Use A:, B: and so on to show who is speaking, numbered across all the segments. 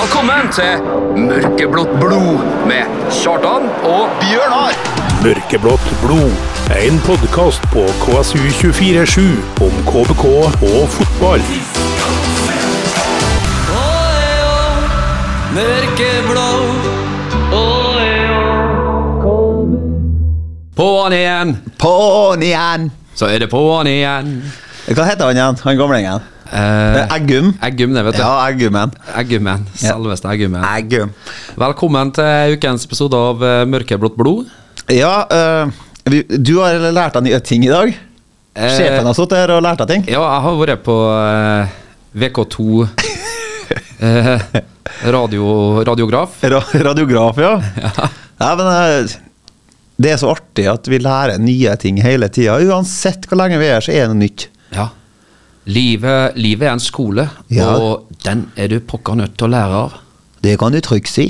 A: Velkommen til Mørkeblått blod med Kjartan og
B: Bjørnar!
C: Mørkeblått blod. En podkast på KSU247 om KBK og fotball.
A: På'n igjen,
B: På'n igjen!
A: så er det på'n igjen.
B: Hva heter han igjen? Han gamlingen? Det
A: Eh,
B: er Eggum?
A: Eggum, det, vet du.
B: Ja, Eggumen.
A: Eggumen. Selveste Eggumen.
B: Eggum.
A: Velkommen til ukens episode av eh, Mørkeblått blod.
B: Ja, eh, vi, du har lært deg nye ting i dag.
A: Eh,
B: Sjefen har sittet her og lært deg ting.
A: Ja, jeg har vært på eh, VK2 eh, radio, radiograf.
B: Ra radiograf, ja. Nei, men eh, det er så artig at vi lærer nye ting hele tida. Uansett hvor lenge vi er, så er det nytt.
A: Ja. Livet, livet er en skole,
B: Ja.
A: og den er du pokker nødt til å lære av.
B: Det kan du trygt si.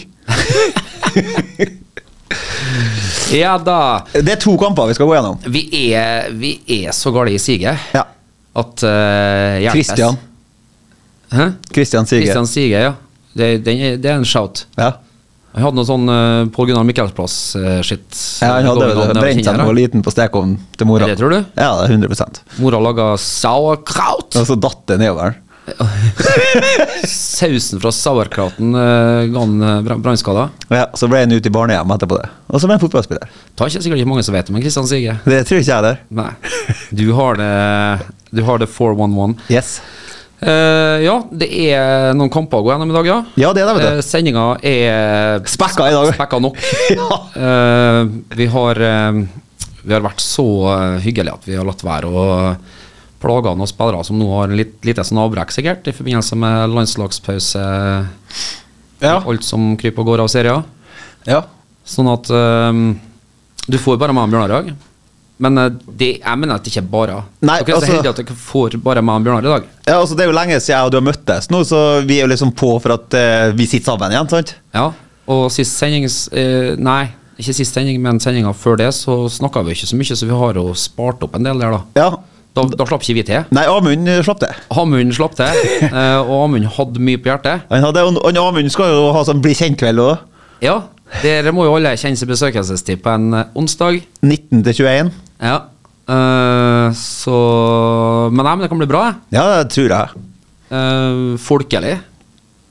A: Ja da.
B: Det er to kamper vi skal gå gjennom.
A: Vi er, vi er så gale i siget
B: Ja.
A: at eh, hjelpes.
B: Christian.
A: Hæ?
B: Christian Sige.
A: Christian Sige, ja. Det, det, er- det er en shout.
B: Ja.
A: Jeg hadde noe sånn uh, Pål Gunnar eh, Mikkelsplass-shit.
B: Ja, han hadde brent seg da han var liten på stekeovnen til mora.
A: Er det, tror du?
B: Ja, det er 100
A: Mora laga sauerkraut.
B: Og så datt det nedover.
A: Sausen fra sauerkrauten eh, ga han eh, bra- brannskader.
B: Ja, så ble han ute i barnehjem etterpå det. Og så ble han fotballspiller.
A: Det er ikke sikkert ikke mange som vet om Christian Sige.
B: Det tror ikke jeg heller.
A: Nei. Du har det, du har det 411.
B: Yes.
A: Eh, ja, det er noen kamper å gå gjennom i dag, ja.
B: Ja, det er det,
A: Uh,
B: vet du.
A: Sendinga er eh,
B: Spekka i dag.
A: spekka nok.
B: ja.
A: Eh, vi, har, eh, vi har vært så eh, hyggelige at vi har latt være å plage noen spillere som nå har litt lite sånn avbrekk, sikkert, i forbindelse med landslagspause.
B: Ja.
A: Alt som kryper og går av serien.
B: ja.
A: Sånn at eh, Du får bare meg og Bjørnar i dag. Men eh, det, jeg mener at det ikke er bare.
B: Nei,
A: dere er så
B: altså-
A: heldige at dere får bare meg og Bjørnar i dag.
B: Ja, altså Det er jo lenge siden jeg og du har møttes nå, så vi er jo liksom på for at eh, vi sitter sammen igjen. sant?
A: Ja, og sist sending eh, Nei, ikke sist sending, men sendinga før det, så snakka vi ikke så mye, så vi har jo spart opp en del der, da.
B: Ja.
A: Da, da slapp ikke vi til.
B: Nei, Amund eh, slapp det.
A: Hamund slapp til, eh, og Hamund hadde mye på hjertet.
B: Han hadde, og og Amund skal jo ha sånn bli kjent-kveld òg.
A: Ja, dere må jo alle kjenne sin besøkelsestid på en eh, onsdag.
B: 19 til 21.
A: Ja. eh, så Men nei, men det kan bli bra. jeg.
B: Ja, det tror jeg.
A: Eh, folkelig.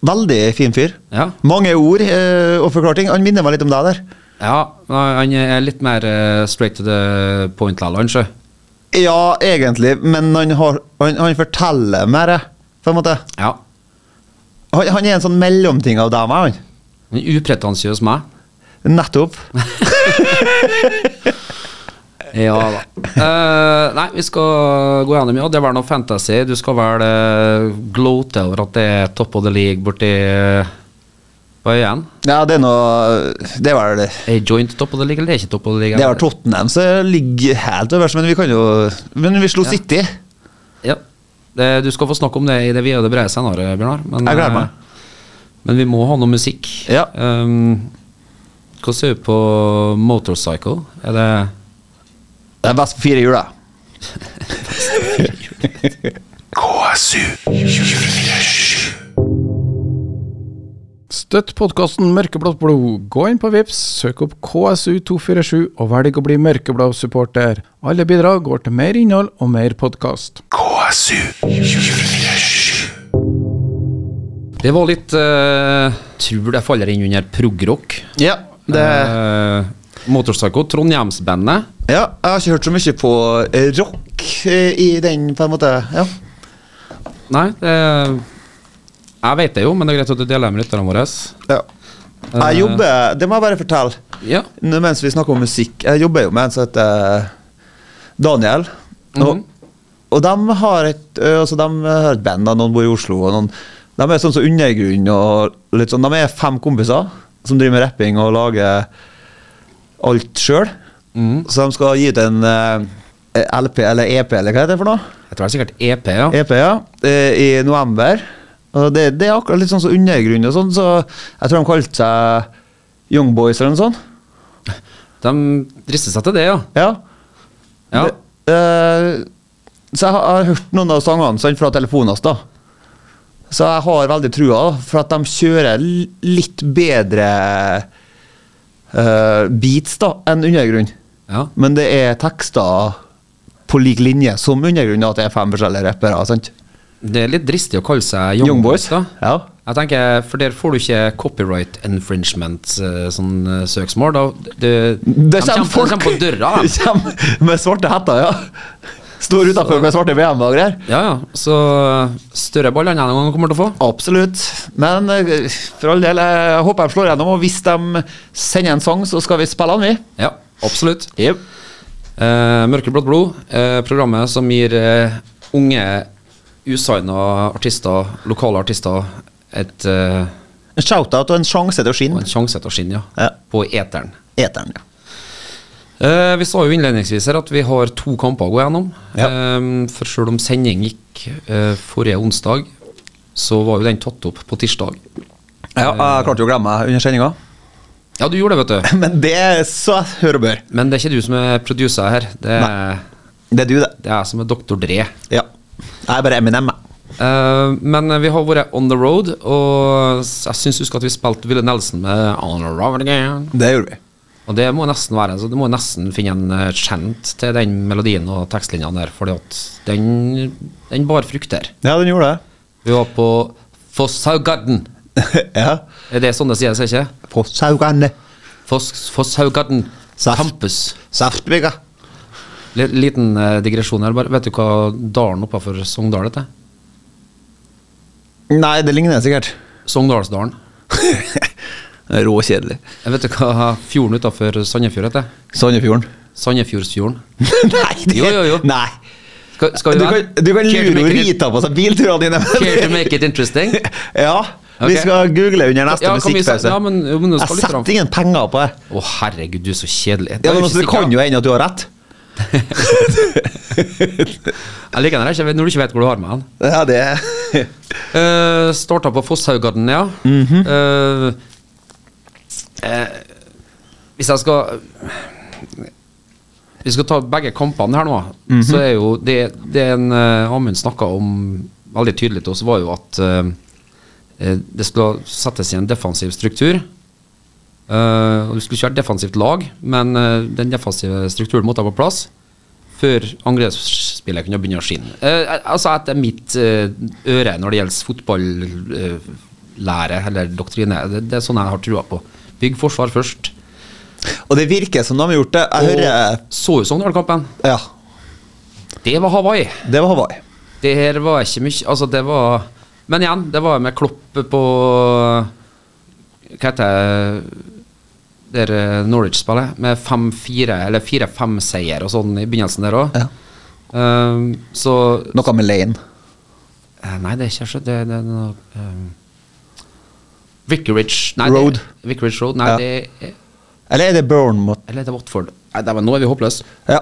B: Veldig fin fyr.
A: Ja.
B: Mange ord eh, og forklaring. Han minner meg litt om deg der.
A: ja. nei, Han er litt mer eh, straight to the point likevel, han, sjø.
B: Ja, egentlig, men han, har, han, han forteller mer, på en måte.
A: Ja.
B: Han, han er en sånn mellomting av deg og meg, han.
A: Han er Upretensiøs meg.
B: Nettopp.
A: Ja da. Eh, nei, vi skal gå gjennom, ja. Det er vel noe fantasy. Du skal vel eh, glote over at det er top of the league borti uh, Hva er igjen?
B: Ja, det er noe Det er vel det
A: Er joint top of the league, eller er ikke top of the league?
B: er vel Tottenham som ligger helt øverst, men vi kan jo Men vi slo City.
A: Ja. Det, du skal få snakke om det i det vide og det brede senere, Bjørnar. Men,
B: Jeg gleder meg.
A: eh, men vi må ha noe musikk.
B: Ja.
A: Um, hva ser du på motorcycle? Er det
B: Det er best på fire hjul, da.
D: Støtt podkasten Mørkeblått blod. Gå inn på Vips, søk opp KSU247 og velg å bli mørkeblå supporter. Alle bidrag går til mer innhold og mer podkast.
A: Det var litt eh, Tror det faller inn under progrock.
B: Ja, det
A: Eh, Motorpsycho, Trondheimsbandet.
B: Ja, jeg har ikke hørt så mye på eh, rock eh, i den, på en måte. Ja.
A: Nei, det Jeg vet det jo, men det er greit at du deler med lytterne våre.
B: ja. Eh. Jeg jobber Det må jeg bare fortelle.
A: Ja.
B: Nå, mens vi snakker om musikk Jeg jobber jo med en som heter eh, Daniel. Og, og de har et ø, altså de har et band, da, noen bor i Oslo. Og noen, de er sånn som undergrunn og litt sånn. De er fem kompiser som driver med rapping og lager alt sjøl. Så de skal gi ut en ø, LP eller EP, eller hva heter det for noe?
A: Jeg tror det er sikkert EP, ja.
B: EP, ja. eh, I november. Og det, det er akkurat litt sånn som undergrunn og sånn, så jeg tror de kalte seg Young Boys eller noe sånt.
A: De drister seg til det, ja.
B: Ja.
A: Ja.
B: Det, eh, så jeg har, jeg har hørt noen av sangene sant, fra telefonen hans, da. Så jeg har veldig trua, da, for at de kjører l- litt bedre eh, beats da, enn undergrunn.
A: Ja.
B: Men det er tekster på lik linje som undergrunn, da, at det er fem forskjellige rappere. sant?
A: Det er litt dristig å kalle seg Young,
B: Young
A: Boys,
B: Boys,
A: da.
B: ja.
A: Jeg tenker, For der får du ikke copyright infringement eh, sånn eh, søksmål. Da. Det, de
B: Det
A: kjem-
B: kommer folk!
A: De kommer på døra,
B: Det
A: de.
B: kommer med svarte hetter, ja. Står utafor med svarte VM-er og greier.
A: Ja, ja. Så eh, større ball enn jeg noen gang kommer til å få.
B: Absolutt. Men eh, for all del, jeg håper de slår gjennom. Og hvis de sender en sang, så skal vi spille den, vi.
A: Ja, absolutt.
B: Yep.
A: Eh, Mørkeblått blod, eh, programmet som gir eh, unge, usigna artister, lokale artister, et, eh,
B: En shout-out og en sjanse til å
A: og
B: skinne.
A: en sjanse til å skinne, ja.
B: Ja.
A: På eteren.
B: Eteren, ja.
A: Eh, vi sa jo innledningsvis her at vi har to kamper å gå gjennom.
B: Ja.
A: Eh, for selv om sending gikk eh, forrige onsdag, så var jo den tatt opp på tirsdag.
B: Ja, jeg klarte jo å glemme meg under sendinga.
A: Ja, du gjorde det, vet du.
B: Men det er så hør og bør.
A: Men det er ikke du som er producer her. Det er,
B: Det er du, det.
A: det er jeg som er doktor Dre.
B: Ja. Jeg er bare Eminem. jeg.
A: Eh, men vi har vært on the road, og s- jeg syns husk at vi spilte Ville Nelson med On the Road Again.
B: Det gjorde vi.
A: Og det må nesten være Så du må nesten finne en eh, chant til den melodien og tekstlinjene der, Fordi at den, den bar frukter.
B: Ja, den gjorde det.
A: Vi var på Fosshaugarden.
B: ja.
A: Er det sånn det sies, ikke?
B: På Saugane.
A: Foss, Fosshaugarden
B: Saft.
A: campus.
B: Saftbygga.
A: L liten eh, digresjon her. Bare, vet du hva dalen oppafor Sogndal heter?
B: Nei, det ligner sikkert.
A: Sogndalsdalen.
B: Råkjedelig.
A: Vet du hva fjorden utafor Sandefjord heter?
B: Sandefjorden.
A: Sandefjordsfjorden.
B: Nei, det
A: Jo, jo, jo.
B: Nei.
A: Skal,
B: Du
A: skal vi
B: kan, du
A: Care
B: kan
A: to
B: lure
A: make it-
B: Rita på seg bilturene dine.
A: Care to make it interesting?
B: ja. Vi
A: Ok.
B: skal google under neste
A: Ja, kan vi sa-
B: musikkpause.
A: ja, men- jo, men nå
B: jeg
A: skal lytterne-
B: setter ingen penger på det.
A: Å, herregud, du er så kjedelig. Det er jo
B: Ja, men
A: ikke
B: også, Det
A: sikkert.
B: kan jo hende at du har rett.
A: Jeg liker den her ikke når du ikke vet hvor du har med den.
B: Ja, det
A: Uh, Starta på Fosshaugarden, ja.
B: Mhm.
A: Eh, eh, hvis jeg skal Vi skal ta begge kampene her nå.
B: Mhm.
A: Så er jo det, det er en eh, Amund snakka om veldig tydelig til oss, var jo at eh, eh, det skulle settes i en defensiv struktur. Eh, og Du skulle ikke være et defensivt lag, men eh, den defensive strukturen måtte være på plass før angrepsspillet kunne begynne å skinne. Eh, altså Etter mitt eh, øre når det gjelder fotballære eller doktrine, det, det er sånn jeg har trua på. Bygg forsvar først.
B: Og det virker som de har gjort det. Jeg hører
A: Og så jo Sogndal-kampen.
B: Ja,
A: Det var Hawaii.
B: det var Hawaii.
A: Det her var ikke mye Altså, det var Men igjen, det var med Klopp på Hva heter det der eh, Norwich-spillet? Med 5-4, eller 4-5-seier og sånn i begynnelsen der òg.
B: Ja.
A: så
B: Noe med Lane.
A: eh, Nei, det er ikke så Det, det er noe um, Vicarage nei,
B: Road.
A: Det, Vicarage Road. Nei,
B: Ja.
A: det er
B: Eller er det Bournemouth?
A: Eller det er Watford. Nei, det var, nå er vi håpløse.
B: Ja.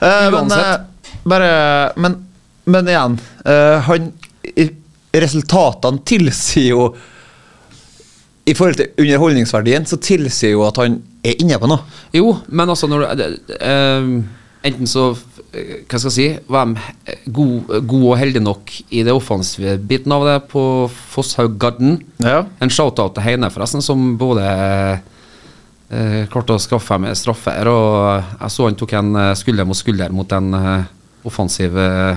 B: Eh, men,
A: Uansett.
B: eh, bare, men, men igjen, eh, han i- Resultatene tilsier jo I forhold til underholdningsverdien, så tilsier jo at han er inne på noe.
A: Jo, men altså når du eh, Enten så eh, Hva skal jeg si Var de god, god og heldig nok i det offensive biten av det på Fosshauggarden.
B: Ja.
A: En shout-out til Heine, forresten, som både eh, klarte å skaffe med straffe her, og jeg så han tok en eh, skulder mot skulder mot en eh, offensiv eh,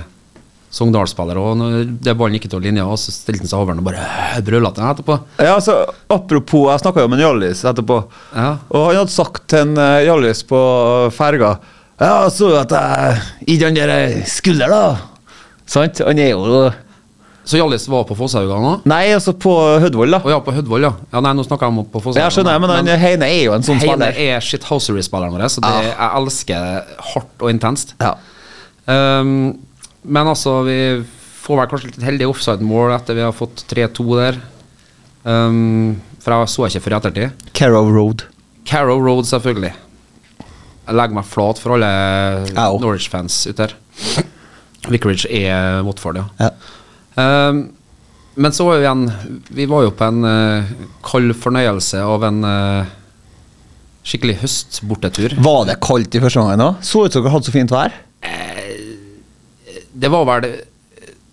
A: Sogndal-spiller, og når det ballen gikk ut av linja, og så stilte han seg over den og bare brøla til den etterpå.
B: Ja, altså, Apropos, jeg snakka jo med en Hjallis etterpå.
A: Ja.
B: Og han hadde sagt til en eh, Hjallis på eh, ferga Ja, så du at jeg I den der eh, skulder, da. Sant? Han er jo
A: Så Hjallis var på Fosshauga nå?
B: Nei, altså på Hødvold, da.
A: Å ja, på Hødvoll, ja. ja. Nei, nå snakker jeg om på Fosshaug.
B: Jeg skjønner, men han, Heine er jo en sånn
A: Heine
B: spiller.
A: er shithousery-spilleren vår, så det, jeg elsker det hardt og intenst.
B: Ja.
A: Ehm, men altså, vi får vel kanskje litt heldig offside-mål etter vi har fått 3-2 der. Ehm, for jeg så ikke før i ettertid.
B: Carrow Road.
A: Carrow Road, selvfølgelig. Jeg legger meg flat for alle
B: Au.
A: Norwich-fans ute her. Vicarage er Watford, ja.
B: Ja.
A: Ehm, men så var jo igjen Vi var jo på en eh, kald fornøyelse av en eh, skikkelig høstbortetur.
B: Var det kaldt i første gangen òg? Så ut som dere hadde så fint vær.
A: Det var vel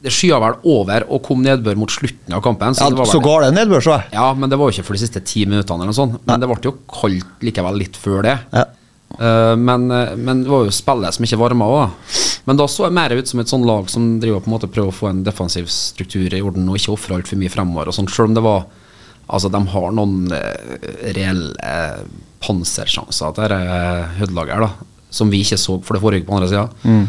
A: det skya vel over og kom nedbør mot slutten av kampen. Så,
E: Ja,
A: det var vel-
E: så går det nedbør, så jeg.
A: ja, men det var jo ikke for de siste ti minuttene, eller noe sånt. Men det ble jo kaldt likevel litt før det.
E: Ja.
A: Eh, men, eh, men det var jo spillet som ikke varma òg. Men da så jeg mer ut som et sånn lag som driver på en måte prøver å få en defensiv struktur i orden og ikke ofre altfor mye fremover. Og sånt, selv om det var Altså, de har noen eh, reelle eh, pansersjanser, dette uh, Hødelaget her, da. Som vi ikke så, for det foregikk på andre sida.
E: Mm.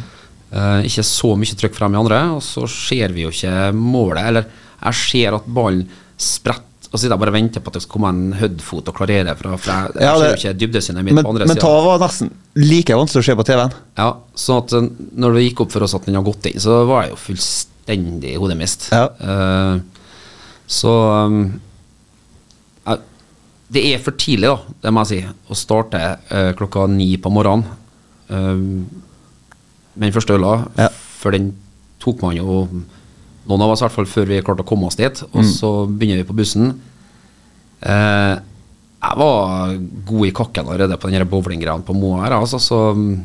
A: Eh, ikke så mye trykk frem i andre, og så ser vi jo ikke målet. Eller jeg ser at ballen spretter, og så sitter jeg bare og venter på at det skal komme en Hødd-fot og klarere. fra- For jeg, jeg
E: Ja,
A: ser
E: det-
A: jo ikke dybdesynet mitt
E: Men,
A: på andre
E: men
A: sida.
E: ta var nesten like vanskelig å se på TV-en.
A: Ja, sånn at eh, når det gikk opp for oss at den hadde gått inn, så var jeg jo fullstendig hodemist.
E: Ja.
A: Eh, så um, jeg- Det er for tidlig, da, det må jeg si, å starte eh, klokka ni på morgenen eh, med den første øla.
E: Ja.
A: For den tok man jo Noen av oss i hvert fall før vi klarte å komme oss dit. Og
E: Mm.
A: så begynner vi på bussen. Eh, jeg var god i kakken allerede på den her bowlinggreia på Moa her, altså, så mm,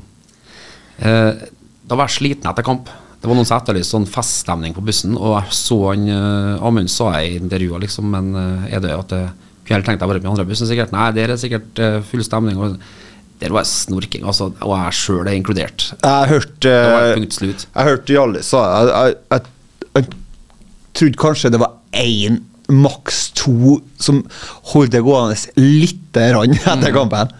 A: eh, Da var jeg sliten etter kamp. Det var noen som etterlyste sånn feststemning på bussen, og jeg så han eh, Amund sa jeg i intervjuet, liksom, men eh, er det at det kunne helt tenkt deg å være med i andre bussen, sikkert? Nei, der er sikkert eh, full stemning. Og der var jeg snorking, altså, og jeg sjøl er inkludert.
E: Jeg hørte
A: Det var
E: eh,
A: punkt slut.
E: Jeg hørte Hjallis sa jeg, jeg, jeg, jeg trodde kanskje det var én, maks to, som holdt det gående lite grann etter kampen.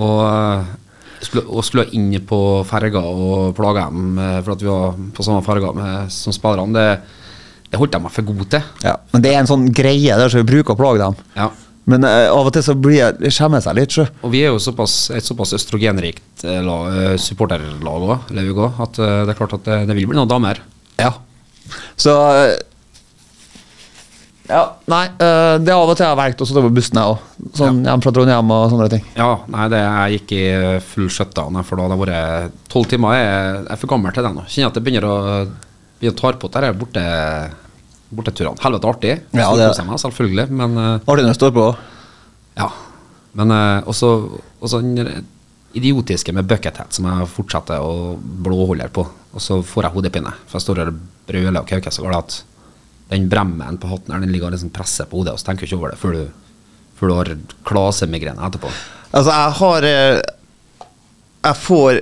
A: Og, eh, skulle, og skulle inn på ferga og plage dem eh, for at vi var på samme ferga med, som spillerne. Det, det holdt jeg meg for god til.
E: Ja, men det er en sånn greie der som vi bruker å plage dem.
A: Ja.
E: Men eh, av og til så blir jeg, jeg skjemmer seg litt, sjø.
A: Og vi er jo såpass, et såpass østrogenrikt eh, la, eh, supporterlag òg, Laug òg, at eh, det er klart at det, det vil bli noen damer.
E: Ja. Så eh, Ja, nei. eh, Det er av og til jeg har valgt å sitte på bussen, jeg òg. Sånn hjem fra Trondheim og sånne ting.
A: Ja, nei, det, jeg gikk i eh, full shutdown, jeg, for da hadde det vært eh, tolv timer. Jeg jeg er for gammel til det nå. Kjenner at det begynner å begynner å ta på der jeg er borte borteturene. Helvete artig.
E: Ja,
A: Så
E: det-
A: koser jeg meg selvfølgelig, men eh,
E: Artig når jeg står på.
A: Ja. Men eh, også, også den idiotiske med bucket hat, som jeg fortsetter å blåholde på. Og så får jeg hodepine, for jeg står her og brøler og kauker så galt at den bremmen på hatten her, den ligger og liksom presser på hodet, og så tenker du ikke over det før du, før du har klasemigrene etterpå.
E: Altså, jeg har eh, Jeg får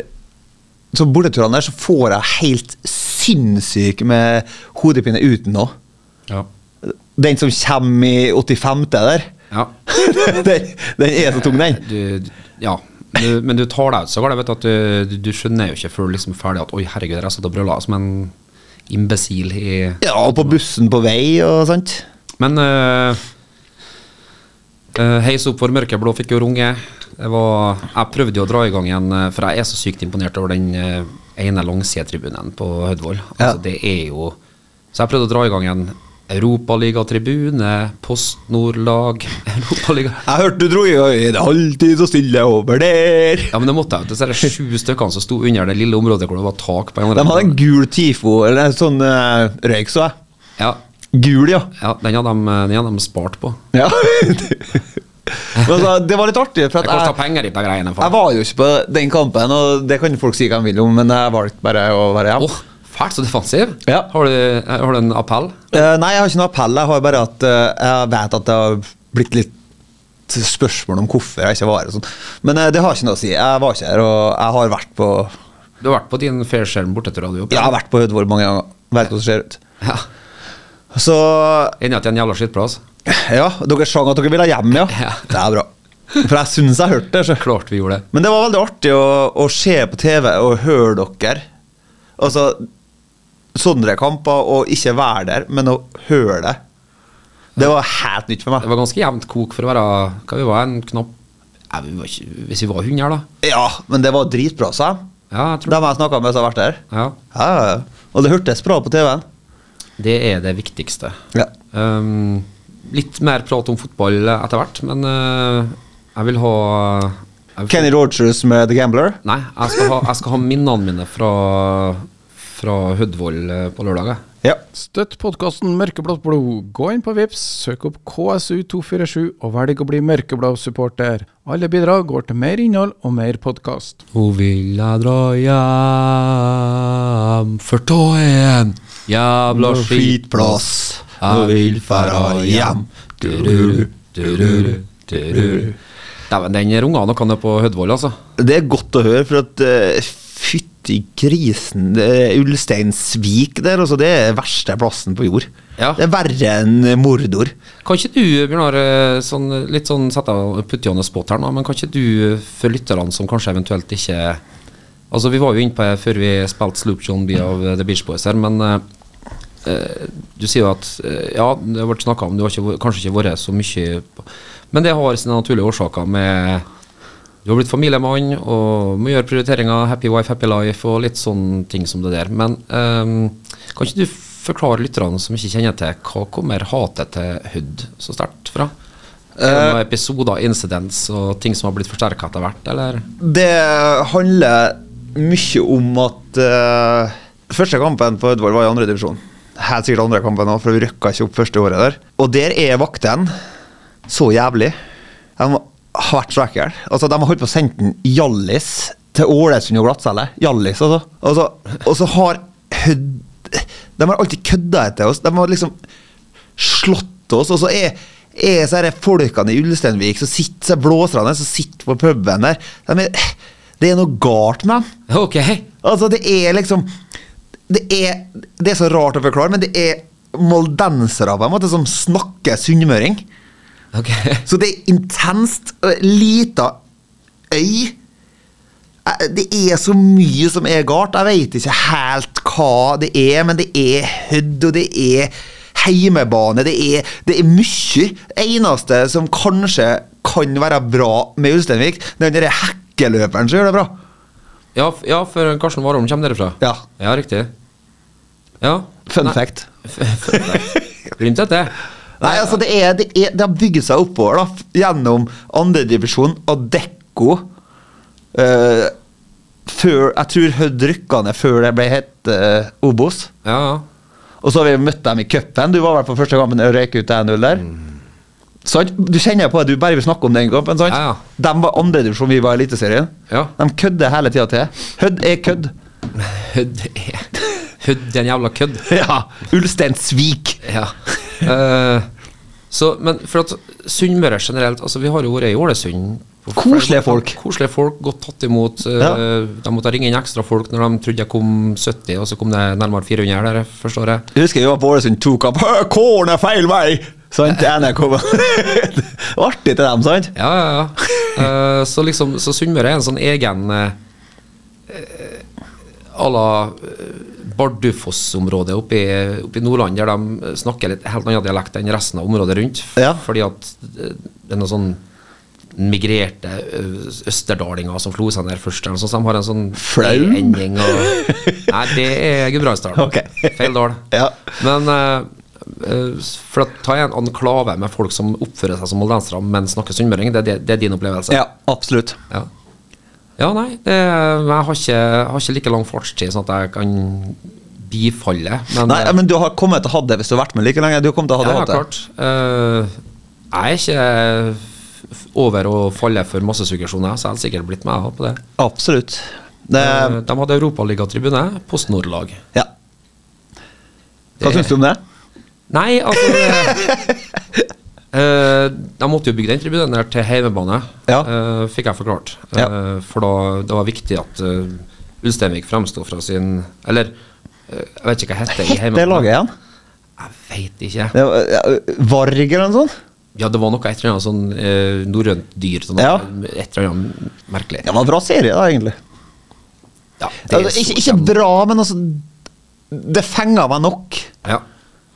E: Så bordeturene der, så får jeg helt sinnssyk med hodepine uten noe.
A: Ja.
E: Den som kommer i 85. der,
A: ja.
E: den, den er så tung, den.
A: Du, du- ja. Du, men du tar deg ut så galt, vet du, at du, du, du skjønner jo ikke før du liksom er ferdig at oi, herregud, jeg satt og brøla som en imbesil i
E: Ja, og på bussen på vei og sånt.
A: Men eh, eh, Heis opp for mørkeblå fikk jo runge. Det var, jeg prøvde jo å dra i gang igjen, eh, for jeg er så sykt imponert over den eh, ene langsidetribunen på Hødvoll.
E: Ja.
A: Altså, det er jo Så jeg prøvde å dra i gang en europaligatribune, Post Nord-lag Europaliga
E: Jeg hørte du dro i øyet, det er alltid så stille over der.
A: Ja, men det måtte jeg. jo. Disse her sju stykkene som sto under det lille området hvor det var tak på en
E: De hadde en gul TIFO, eller en sånn eh, røyk, så jeg.
A: Ja,
E: Gul, ja.
A: ja den, hadde de, den hadde de spart på.
E: ja. Men altså, det var litt artig, for
A: Det
E: at
A: kosta
E: jeg,
A: penger, de på greiene. faen.
E: jeg var jo ikke på den kampen, og det kan folk si hva de vil om, men jeg valgte bare å være
A: Åh,
E: hjemme.
A: fælt så defensiv.
E: Ja.
A: Har, du, har du en appell?
E: Eh, nei, jeg har ikke noe appell, jeg har bare at eh, jeg vet at det har blitt litt spørsmål om hvorfor jeg ikke var her og sånn. Men eh, det har ikke noe å si. Jeg var ikke her, og jeg har vært på
A: Du har vært på din fair share borteturer, du òg.
E: Jeg har vært på Hødvoll mange ganger. Vet hvordan det ser ut.
A: Ja.
E: Så
A: Enda til en jævla skittplass.
E: Ja, dere sang at dere ville hjem, ja.
A: Ja.
E: Det er bra. For jeg syns jeg hørte det. Så.
A: Klart vi gjorde det.
E: Men det var veldig artig å, å se på TV og høre dere. Altså sånne kamper og ikke være der, men å høre det. Det var helt nytt for
A: Det
E: meg.
A: var ganske jevnt kok for å være Hva vi var, en knapp Nei, vi var ikke, Hvis vi var 100 her, da.
E: Ja, men det var dritbra, sa jeg.
A: Ja, jeg tror
E: Dem jeg snakka med som har vært der.
A: ja.
E: Ja, ja, ja. og det hørtes bra på TV-en.
A: Det er det viktigste.
E: Ja.
A: Um, litt mer prat om fotball etter hvert, men uh, jeg vil ha jeg vil få-
E: Kenny Rogers med The Gambler.
A: Nei, jeg skal ha, jeg skal ha minnene mine fra, fra Hødvoll eh, på lørdag. jeg.
E: Ja.
D: Støtt podkasten Mørkeblått blod. Gå inn på Vips, søk opp KSU247 og velg å bli mørkeblå-supporter. Alle bidrag går til mer innhold og mer podkast.
A: Hun vil jeg dra hjem, for da er en jævla skitplass.
E: Hun vil færa hjem.
A: Dururu, dururu, dururu. Dæven, den runga noe nede på Hødvoll, altså.
E: Det er godt å høre, for at eh, fytti grisen det er Ulsteinsvik der, altså, det er verste plassen på jord.
A: Ja.
E: Det er verre enn Mordor.
A: Kan ikke du, Bjørnar, eh, sånn, litt sånn sette deg putte on the spot her nå, men kan ikke du, eh, for lytterne som kanskje eventuelt ikke Altså, vi var jo inne på det før vi spilte Sloop John B av eh, The Beach Boys her, men eh, eh, du sier jo at eh, Ja, det har vært snakka om, du har ikke, vært- kanskje ikke vært så mye på- Men det har sine naturlige årsaker med Du har blitt familiemann og må gjøre prioriteringer, happy wife, happy life og litt sånne ting som det der. Men ehm, kan ikke du forklare lytterne som ikke kjenner til, hva kommer hatet til Hud så sterkt fra? Er det noen episoder, incidents og ting som har blitt forsterka etter hvert, eller?
E: Det handler mye om at eh, Første kampen på Ødvold var i andre divisjon. Helt sikkert andre kampen òg, for vi røkka ikke opp første året der. Og der er vaktene så jævlig. De har vært så ekle. Altså, de har holdt på å sende den Hjallis til Ålesund og glattcelle. Hjallis, altså. altså. Og så har Hødd De har alltid kødda etter oss. De har liksom slått oss. Og så er, er så her folkene i Ulsteinvik som sitter, så er blåserne som sitter på puben der de er, Det er noe galt med dem.
A: Ok,
E: Altså, det er liksom det er, det er så rart å forklare, men det er moldensere på en måte som snakker sunnmøring.
A: ok.
E: Så det er intenst. og Lita øy. Eh, Det er så mye som er galt. Jeg veit ikke helt hva det er, men det er hødd, og det er heimebane. Det er, det er mye. Det eneste som kanskje kan være bra med Ulsteinvik, det er den der hekkeløperen som gjør det bra.
A: Ja, f- ja, for Karsten Warholm kommer derfra?
E: Ja.
A: Ja, riktig. Ja.
E: Fun
A: Nei,
E: fact.
A: Fun fact. Glimt etter.
E: Nei, altså det, er, det, er, det har bygget seg oppover da, f- gjennom andredivisjon og Dekko. eh, før, jeg tror Hødd rykka ned før det ble hett eh, Obos.
A: Ja, ja.
E: Og så har vi møtt dem i cupen. Du var vel på første kampen og røyk ut 1-0 der.
A: Mm.
E: Sant? Du kjenner jo på at du bare vil snakke om den kampen. sant?
A: Ja, ja.
E: De var andredivisjon, vi var i Eliteserien.
A: Ja.
E: De kødder hele tida til. Hødd er kødd.
A: Hødd er Hødd er en jævla kødd.
E: Ja, Ulsteinsvik.
A: Ja. Eh, så, men for at Sunnmøre generelt altså Vi har jo vært i Ålesund. på flere
E: Koselige
A: måter.
E: folk.
A: Koselige folk, Godt tatt imot. eh,
E: Ja.
A: De måtte ringe inn ekstra folk når de trodde jeg kom 70, og så kom det nærmere 400 der, forstår jeg.
E: Jeg husker vi var på Ålesund to kamp. «Hø, Kåren er feil vei! Sant? Det ene kom. Artig til dem, sant?
A: Ja, ja, ja. Eh, så liksom, så Sunnmøre er en sånn egen eh, eh, à la eh, Bardufoss-området oppe i- oppe i Nordland, der de snakker litt helt annen dialekt enn resten av området rundt. F-
E: Ja.
A: Fordi at eh, det er noen sånn migrerte ø- østerdalinger som slo seg ned først. Eller noe sånt, så de har en sånn
E: Flaum?
A: ending og Nei, det er Gudbrandsdalen.
E: Ok.
A: Feil dal.
E: Ja.
A: Men eh, eh, for å ta en anklave med folk som oppfører seg som moldensere, men snakker sunnmøring, det, er det, det er din opplevelse?
E: Ja, absolutt.
A: Ja, Ja, nei, det, jeg har ikke, har ikke like lang fartstid sånn at jeg kan bifalle. Men,
E: Nei, men du har kommet til å ha det hvis du har vært med like lenge. Du har kommet til å ha
A: ja,
E: det,
A: ja,
E: hatt det.
A: klart. Eh, jeg er ikke f- over å falle for massesuggesjon, jeg, så jeg hadde sikkert blitt med jeg, på det.
E: Eh, Absolutt. Det,
A: Eh, de hadde Europaligatribune, Post Nord-lag.
E: ja. Hva
A: det-
E: syns du om det?
A: Nei, altså det- Eh, De måtte jo bygge den tribunen der til heimebane,
E: Ja.
A: eh, fikk jeg forklart. Eh,
E: Ja.
A: for da det var viktig at uh, Ulsteinvik fremsto fra sin Eller eh, jeg vet ikke hva det heter i
E: Hette
A: heimebane.
E: laget igjen?
A: Jeg vet ikke.
E: Det var, ja, Varg eller noe sånt?
A: Ja, det var noe et eller annet sånn eh, norrønt dyr. Sånn,
E: Ja.
A: Et eller annet merkelig.
E: Det var en bra serie, da, egentlig.
A: Ja, det er
E: Altså,
A: så
E: ikke, ikke
A: kjem-
E: bra, men altså Det fenga meg nok.
A: ja.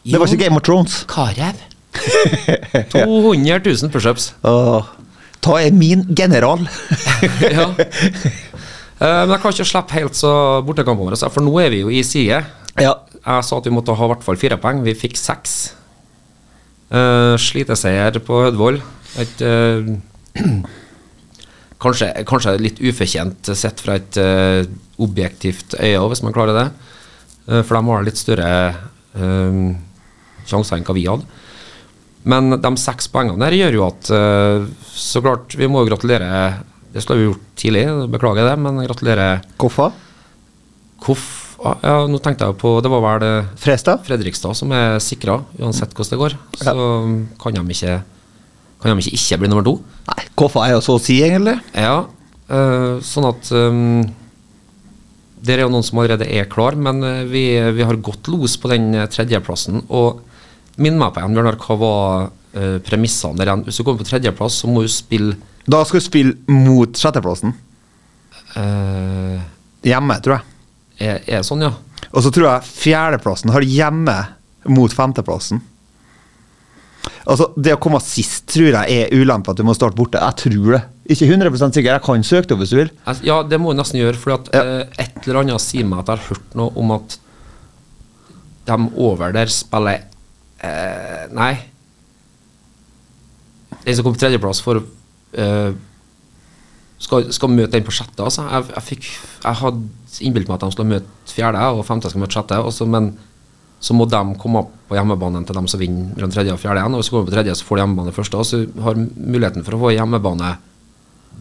E: Det var ikke Game of Thrones.
A: Karev. 200 000 pushups.
E: Åh, ta er min general.
A: ja. Eh, men jeg kan ikke slippe helt så bortekampene våre, så- for nå er vi jo i side.
E: ja.
A: Jeg sa at vi måtte ha i hvert fall fire poeng. Vi fikk seks. Eh, sliteseier på Hødvoll. Et eh, kanskje, kanskje litt ufortjent sett fra et eh, objektivt øye, også, hvis man klarer det. Eh, for de har litt større eh, sjanser enn hva vi hadde. Men de seks poengene der gjør jo at eh, Så klart, vi må jo gratulere Det skulle vi gjort tidlig, beklager det, men gratulerer
E: Hvorfor?
A: Koff ah, ja, Nå tenkte jeg på Det var vel eh,
E: Frestad?
A: Fredrikstad som er sikra, uansett hvordan det går. Så kan de ikke Kan de ikke ikke bli nummer to.
E: Nei, Koffa er jo så å si, egentlig.
A: Ja, eh, sånn at um, Der er jo noen som allerede er klar, men eh, vi, vi har godt los på den eh, tredjeplassen. Og minn meg på igjen, Bjørnar, hva var eh, premissene der igjen? Hvis du kommer på tredjeplass, så må du spille
E: Da skal du spille mot sjetteplassen.
A: eh,
E: Hjemme, tror jeg.
A: er, er det sånn, ja?
E: Og så tror jeg fjerdeplassen har hjemme mot femteplassen. Altså, Det å komme sist tror jeg er ulempe at du må starte borte. Jeg tror det. Ikke 100 sikker, jeg kan søke det opp hvis du vil.
A: Altså, Ja, det må jeg nesten gjøre, for
E: Ja.
A: et eller annet sier meg at jeg har hørt noe om at de over der spiller eh, Nei. Den som kom på tredjeplass, for eh, skal, skal møte den på sjette. Altså. Jeg, jeg, fikk, jeg hadde innbilt meg at de skulle møte fjerde, og femte skal møte sjette. og så- men så må de komme opp på hjemmebanen til dem som vinner mellom tredje og fjerde igjen. Og hvis de kommer på tredje, så får de hjemmebane først. Og så har muligheten for å få hjemmebane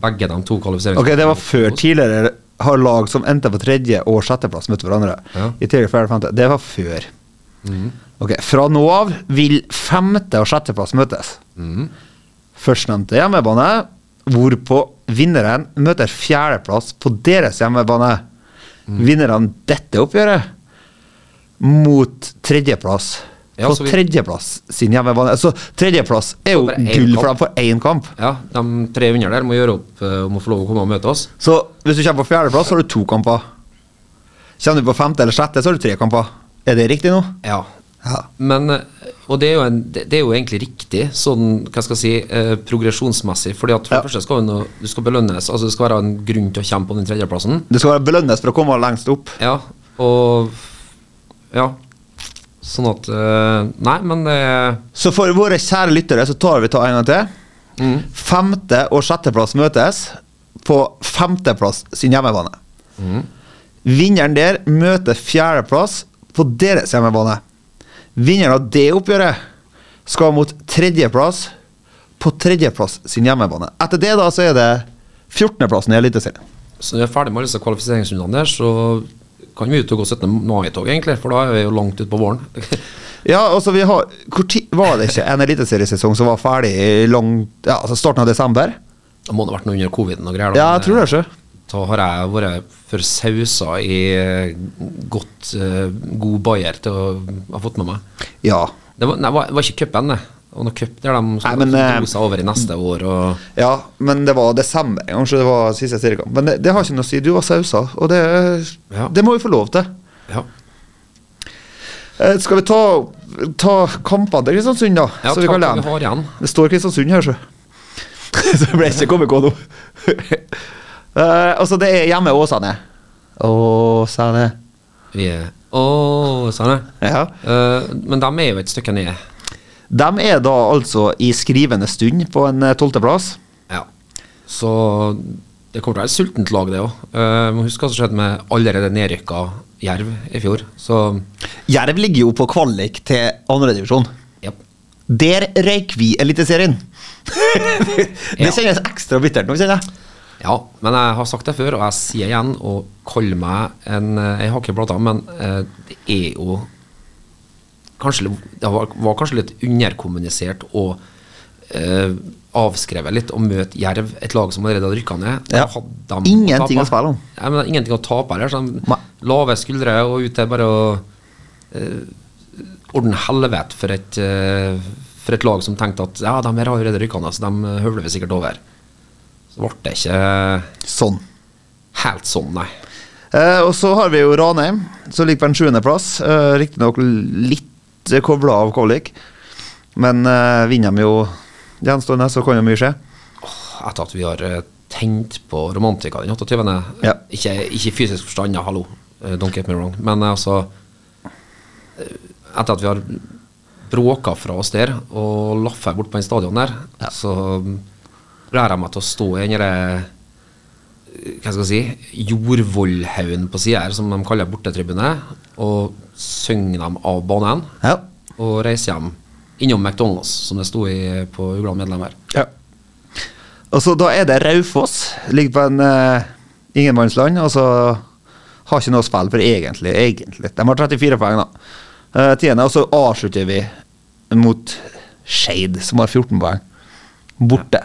A: begge de to kvalifiseringene.
E: Ok, Det var før tidligere har lag som endte på tredje- og sjetteplass, møtte hverandre.
A: Ja. Mhm.
E: I tidligere fjerde og femte. Det var før. Ok, Fra nå av vil femte- og sjetteplass møtes.
A: Mhm.
E: Førstnevnte hjemmebane, hvorpå vinneren møter fjerdeplass på deres hjemmebane.
A: Mhm.
E: Vinneren dette oppgjøret mot tredjeplass.
A: Ja,
E: på
A: så vi-
E: tredjeplass sin hjemmebane. Så tredjeplass er jo
A: Så bare én
E: gull, for de
A: kamp.
E: får én kamp.
A: Ja, de tre under der må gjøre opp eh, om å få lov å komme og møte oss.
E: Så hvis du kommer på fjerdeplass, så har du to kamper. Kommer du på femte eller sjette, så har du tre kamper. Er det riktig nå?
A: Ja.
E: Ja.
A: Men, eh, og det er, jo en, det det er jo egentlig riktig, sånn hva skal jeg si, eh, progresjonsmessig. fordi at for
E: Ja.
A: det første skal jo nå- du skal belønnes, altså det skal være en grunn til å kjempe om den tredjeplassen.
E: Det skal være belønnes for å komme lengst opp.
A: Ja, og Ja. Sånn at eh, Nei, men det
E: Så for våre kjære lyttere så tar vi ta en gang til. Femte- og sjetteplass møtes på femteplass sin hjemmebane. Vinneren der møter fjerdeplass på deres hjemmebane. Vinneren av det oppgjøret skal mot tredjeplass på tredjeplass sin hjemmebane. Etter det da så er det 14.-plassen i Eliteserien.
A: Så når vi er ferdig med alle disse kvalifiseringsrundene der, så kan vi ut og gå 17. mai-tog, egentlig. For da er vi jo langt utpå våren.
E: Ja, altså vi har Hvor tid var det ikke en eliteseriesesong som var ferdig i lang, ja, altså starten av desember?
A: Det må det ha vært noe under covid-en og greier. da,
E: Ja,
A: men,
E: jeg tror det, sjø.
A: Da har jeg vært for sausa i eh, godt, eh, god bayer til å ha fått med meg.
E: Ja.
A: Det var, nei, det var- det var ikke cupen, det. Det var noe cup der de
E: Nei,
A: skulle
E: men, eh,
A: dro seg over i neste år. Og,
E: ja, men det var desember. Kanskje det var siste seriekamp. Men det, det har ikke noe å si. Du var sausa, og det,
A: Ja.
E: det må vi få lov til.
A: ja.
E: Eh, skal vi ta, ta kampene til Kristiansund, da?
A: Ja,
E: så vi
A: ta
E: kan
A: hva vi
E: lene.
A: har igjen.
E: Det står Kristiansund her, sjø. så det ble ikke KBK nå. Eh, altså, det er hjemme Åsane. Åsane.
A: Vi er, å, sa han det.
E: Ja.
A: Eh, men de er jo et stykke ned.
E: De er da altså i skrivende stund på en eh, tolvteplass.
A: Ja. Så det kommer til å være et sultent lag, det òg. må huske hva som skjedde med allerede nedrykka Jerv i fjor. Så
E: Jerv ligger jo på kvalik til andredivisjon.
A: ja.
E: Der røyk vi Eliteserien! det
A: Ja.
E: kjennes ekstra bittert nå, kjenner jeg.
A: Ja, men jeg har sagt det før, og jeg sier igjen, og kall meg en eh, Jeg har ikke plata, men eh, det er jo kanskje, litt- Det var, var kanskje litt underkommunisert og eh, avskrevet litt å møte Jerv, et lag som allerede hadde rykka ned. Da
E: Ja.
A: hadde de
E: Ingenting
A: tape.
E: å spille om.
A: Nei, men det er ingenting å tape heller. så de
E: Nei.
A: Lave skuldre og ut til bare å eh, ordne helvete for et, eh, for et lag som tenkte at ja, de her har jo allerede rykka ned, så de høvler vi sikkert over. Så ble det ikke
E: Sånn.
A: Helt sånn, nei.
E: Eh, og så har vi jo Ranheim, som ligger på en sjuendeplass. Eh, Riktignok litt kobla av kvalik, men eh, vinner de jo gjenstående, så kan jo mye skje.
A: Etter at vi har eh, tent på romantika den 28.
E: Ja.
A: Ikke, ikke i fysisk forstand, ja, hallo, eh, don't get me wrong, men eh, altså eh, Etter at vi har bråka fra oss der og laffa bort på den stadion der, så mm, lærer jeg meg til å stå i den derre hva skal jeg si, jordvollhaugen på sida her, som de kaller bortetribune, og synger dem av banen.
E: Ja.
A: Og reiser hjem innom McDonald's, som det sto i, eh, på Ugland Medlem her.
E: ja. Og så da er det Raufoss. Ligger på en eh, ingenmannsland. Og så har ikke noe å spille for, egentlig. egentlig. De har 34 poeng, da. Eh, tiende, og så avslutter vi mot Skeid, som har 14 poeng. Borte.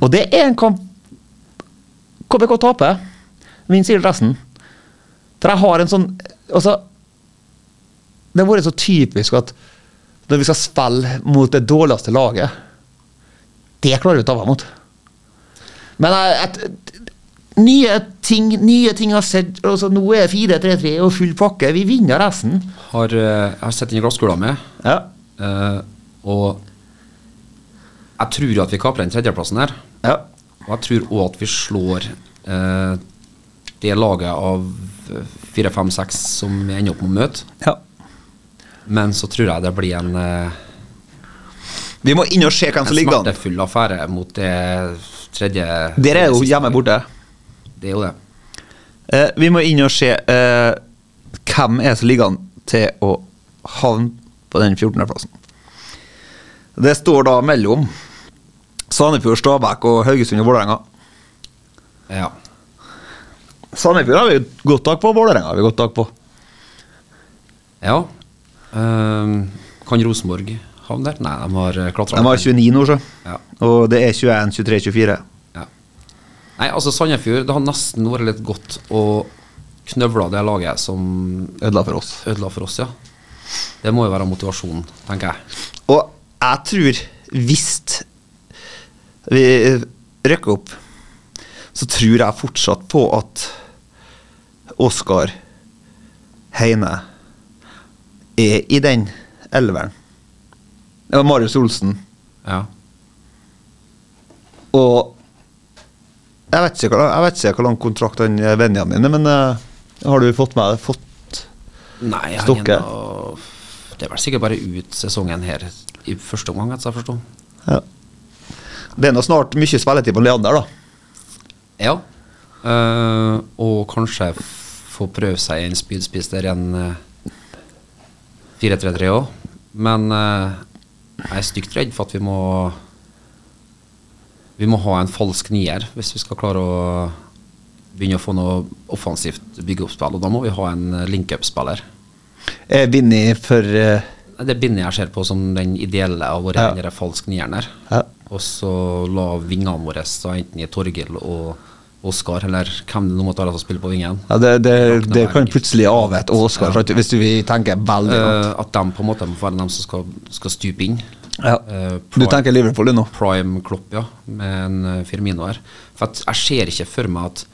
E: Og det er en kamp KBK taper. Vinner sikkert resten. For jeg har en sånn Altså Det har vært så typisk at når vi skal spille mot det dårligste laget Det klarer vi å ta vare mot. Men jeg- et, nye ting nye ting jeg har sett altså Nå er det 4-3-3 og full pakke. Vi vinner resten.
A: Har, eh, jeg har sett den i glasskula mi,
E: Ja.
A: eh, og jeg tror at vi kaprer den tredjeplassen her.
E: ja.
A: Og jeg tror òg at vi slår eh, det laget av fire, fem, seks som vi ender opp med å møte.
E: ja.
A: Men så tror jeg det blir en, eh,
E: Vi må inn og se
A: en
E: hvem
A: smertefull affære mot det tredje
E: Dere er jo hjemme borte.
A: Det er jo det.
E: Eh, vi må inn og se eh, hvem er det som ligger an til å havne på den 14.-plassen. Det står da mellom Sandefjord, Stabæk og Haugesund og Vålerenga.
A: Ja.
E: Sandefjord har vi godt tak på, Vålerenga har vi godt tak på.
A: ja. Ehm, kan Rosenborg havne der? Nei, de har eh, klatra.
E: De har 29 nå, så.
A: Ja.
E: Og det er 21, 23, 24.
A: Ja. Nei, altså Sandefjord Det har nesten vært litt godt å knøvle det laget som
E: Ødela for oss.
A: ødela for oss, ja. Det må jo være motivasjonen, tenker jeg.
E: Og jeg tror hvis vi rykker opp, så tror jeg fortsatt på at Oskar Heine er i den elveren. Det var Marius Olsen.
A: Ja.
E: Og jeg vet ikke hva- jeg vet ikke hvor lang kontrakt han eh, Benjamin er, men eh, har du fått med deg fått
A: Nei, jeg
E: Stokke.
A: er ennå- Det er vel sikkert bare ut sesongen her i første omgang, etter jeg forstår.
E: ja. Det er nå snart mye spilletid på Leander, da.
A: Ja. Eh, og kanskje f- få prøve seg i en spydspiss der igjen. eh, 4-3-3 òg. Men eh, jeg er stygt redd for at vi må Vi må ha en falsk nier hvis vi skal klare å begynne å få noe offensivt byggeoppspill. Og da må vi ha en eh, link-up-spiller.
E: Er Vinni for eh,
A: Det bindet jeg ser på som den ideelle av våre
E: Ja.
A: ja. falsk nieren der.
E: Ja.
A: Og så la vingene våre stå enten i Torgill og Oskar, eller hvem det nå måtte være som spiller på vingen.
E: Ja, det, det,
A: Rakneberg.
E: det kan plutselig avvete Oskar, sant, hvis du vil tenke veldig langt.
A: Eh, at de på en måte må være dem som skal, skal stupe inn.
E: Ja.
A: eh,
E: Du
A: prime-
E: tenker Liverpool du, nå?
A: Prime Klopp, ja, med en eh, Firmino her. For at jeg ser ikke for meg at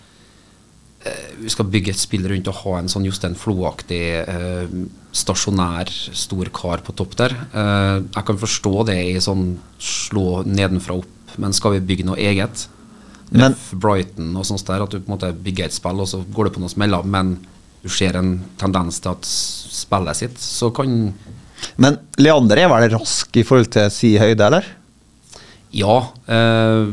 A: eh, vi skal bygge et spill rundt og ha en sånn Jostein Flo-aktig eh, stasjonær, stor kar på topp der. Eh, jeg kan forstå det i sånn slå nedenfra opp, men skal vi bygge noe eget?
E: Men-
A: Ref Brighton og sånt der, at du på en måte bygger et spill, og så går det på noen smeller, men du ser en tendens til at spillet sitt, så kan
E: Men Leander er vel rask i forhold til si høyde, eller?
A: Ja. Eh,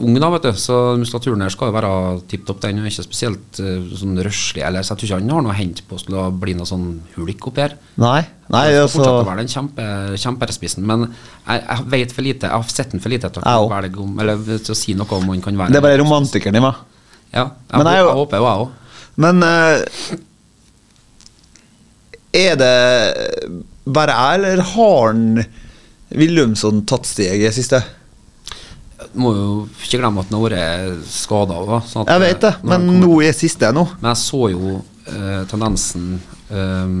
A: ung, da, vet du. Så muskulaturen her skal jo være tipp topp. Den er ikke spesielt eh, sånn røslig. Eller, så jeg tror ikke han har noe å hente på å skulle bli noe sånn hulk oppi her.
E: Nei. Nei,
A: Han skal
E: altså
A: fortsatt å være den kjempe, kjemperespissen, men jeg, jeg vet for lite. Jeg har sett den for lite til å,
E: Jeg
A: kunne
E: òg.
A: velge om, eller, til å si noe om han kan være
E: Det er bare romantikeren i meg.
A: Ja, jeg,
E: Men jeg
A: håper-
E: er jo-
A: jeg håper jo jeg òg.
E: Men eh, Er det bare jeg, eller har han Willumsson tatt steg i det siste?
A: Må jo ikke glemme at han har vært skada òg.
E: Jeg vet
A: eh,
E: det, men nå i det siste nå
A: Men jeg så jo eh, tendensen eh,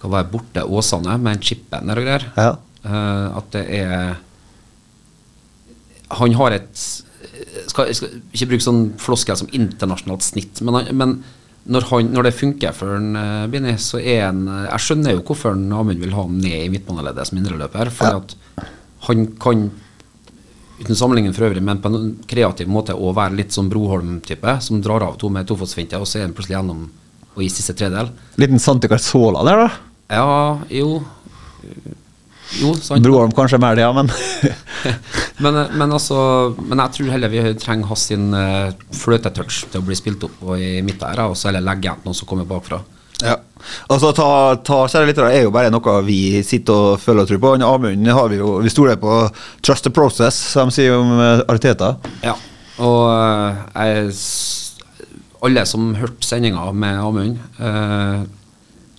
A: Hva var jeg borte Åsane med en chipen der og greier.
E: Ja.
A: Eh, at det er Han har et skal, Jeg skal ikke bruke sånn floskel som internasjonalt snitt, men, han, men når, han, når det funker for en, eh, Binni, så er han eh, Jeg skjønner jo hvorfor en Amund vil ha han ned i midtbaneleddet som indreløper, for at han kan uten sammenligning for øvrig, men på en kreativ måte å være litt sånn Broholm-type, som drar av to med tofotsfinte, og så er han plutselig gjennom og i siste tredel.
E: Liten Santi Carzola der, da.
A: Ja, jo Jo, sant.
E: Broholm kanskje mer det, ja, men
A: Men, eh, men, altså, men jeg tror heller vi trenger hans sin eh, fløtetouch til å bli spilt opp på i midten her, og så heller legge igjen til noen som kommer bakfra.
E: Ja. Altså, ta, ta kjære lyttere, er jo bare noe vi sitter og føler og tror på. Han Amund har vi jo Vi stoler på Trust the Process, som de sier om eh, Arteta.
A: Ja, og eh, jeg, s- alle som hørte sendinga med Amund, eh,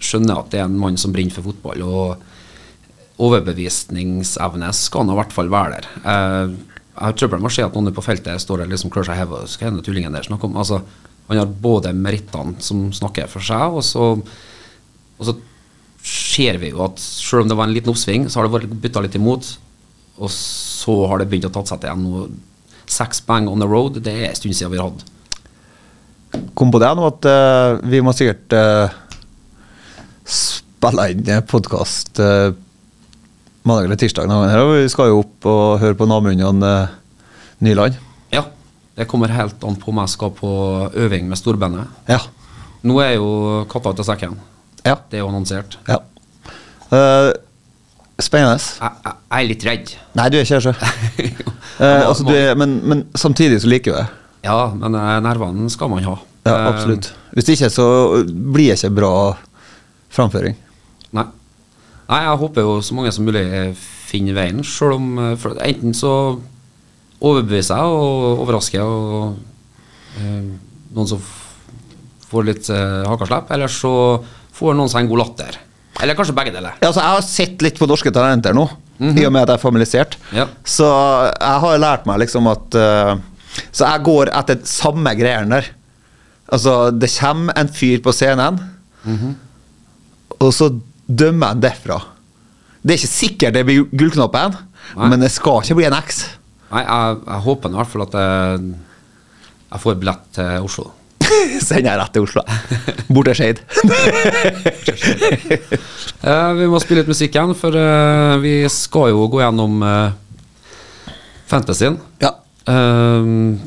A: skjønner at det er en mann som brenner for fotball. Og overbevisningsevne skal han i hvert fall være der. Eh, jeg har trøbbel med å se at noen på feltet står og liksom klør seg i hodet. Hva er denne tullingen der snakker om? Altså, han har både merittene som snakker for seg, og så, og så ser vi jo at selv om det var en liten oppsving, så har det vært bytta litt imot. Og så har det begynt å tatt seg til igjen. Nå, seks poeng on the road, det er en stund siden vi har hatt.
E: Kom på det nå at eh, vi må sikkert eh, spille inn podkast mandag eller tirsdag. denne gangen her, og Vi skal jo opp og høre på Namund og eh, Nyland.
A: Ja, det kommer helt an på om jeg skal på øving med storbandet.
E: Ja.
A: Nå er jo katta ute av sekken.
E: Ja.
A: Det er jo annonsert.
E: ja. Eh, spennende.
A: Jeg, jeg, jeg er litt redd.
E: Nei, du er ikke her, sjø. Eh, altså, du er- men, men samtidig så liker du det.
A: Ja, men eh, nervene skal man ha.
E: Ja,
A: Eh,
E: absolutt. Hvis ikke, så blir det ikke bra framføring.
A: Nei. Nei, jeg håper jo så mange som mulig eh, finner veien, selv om eh, for enten så overbeviser jeg og overrasker og eh, noen som f- får litt eh, hakaslepp, eller så får noen seg en god latter. Eller kanskje begge deler.
E: Ja, altså, jeg har sett litt på norske talenter nå, i og med at jeg er familisert.
A: Ja.
E: Så jeg har lært meg liksom at eh, Så jeg går etter samme greiene der. Altså, det kommer en fyr på scenen,
A: Mhm.
E: og så dømmer han derfra. Det er ikke sikkert det blir gullknappen,
A: Nei.
E: men det skal ikke bli en X.
A: Nei, jeg, jeg håper nå i hvert fall at jeg, jeg får billett til Oslo.
E: Sender jeg rett til Oslo. Bort til Skeid.
A: Eh, vi må spille litt musikk igjen, for eh, vi skal jo gå gjennom eh, fantasyen.
E: ja.
A: Um,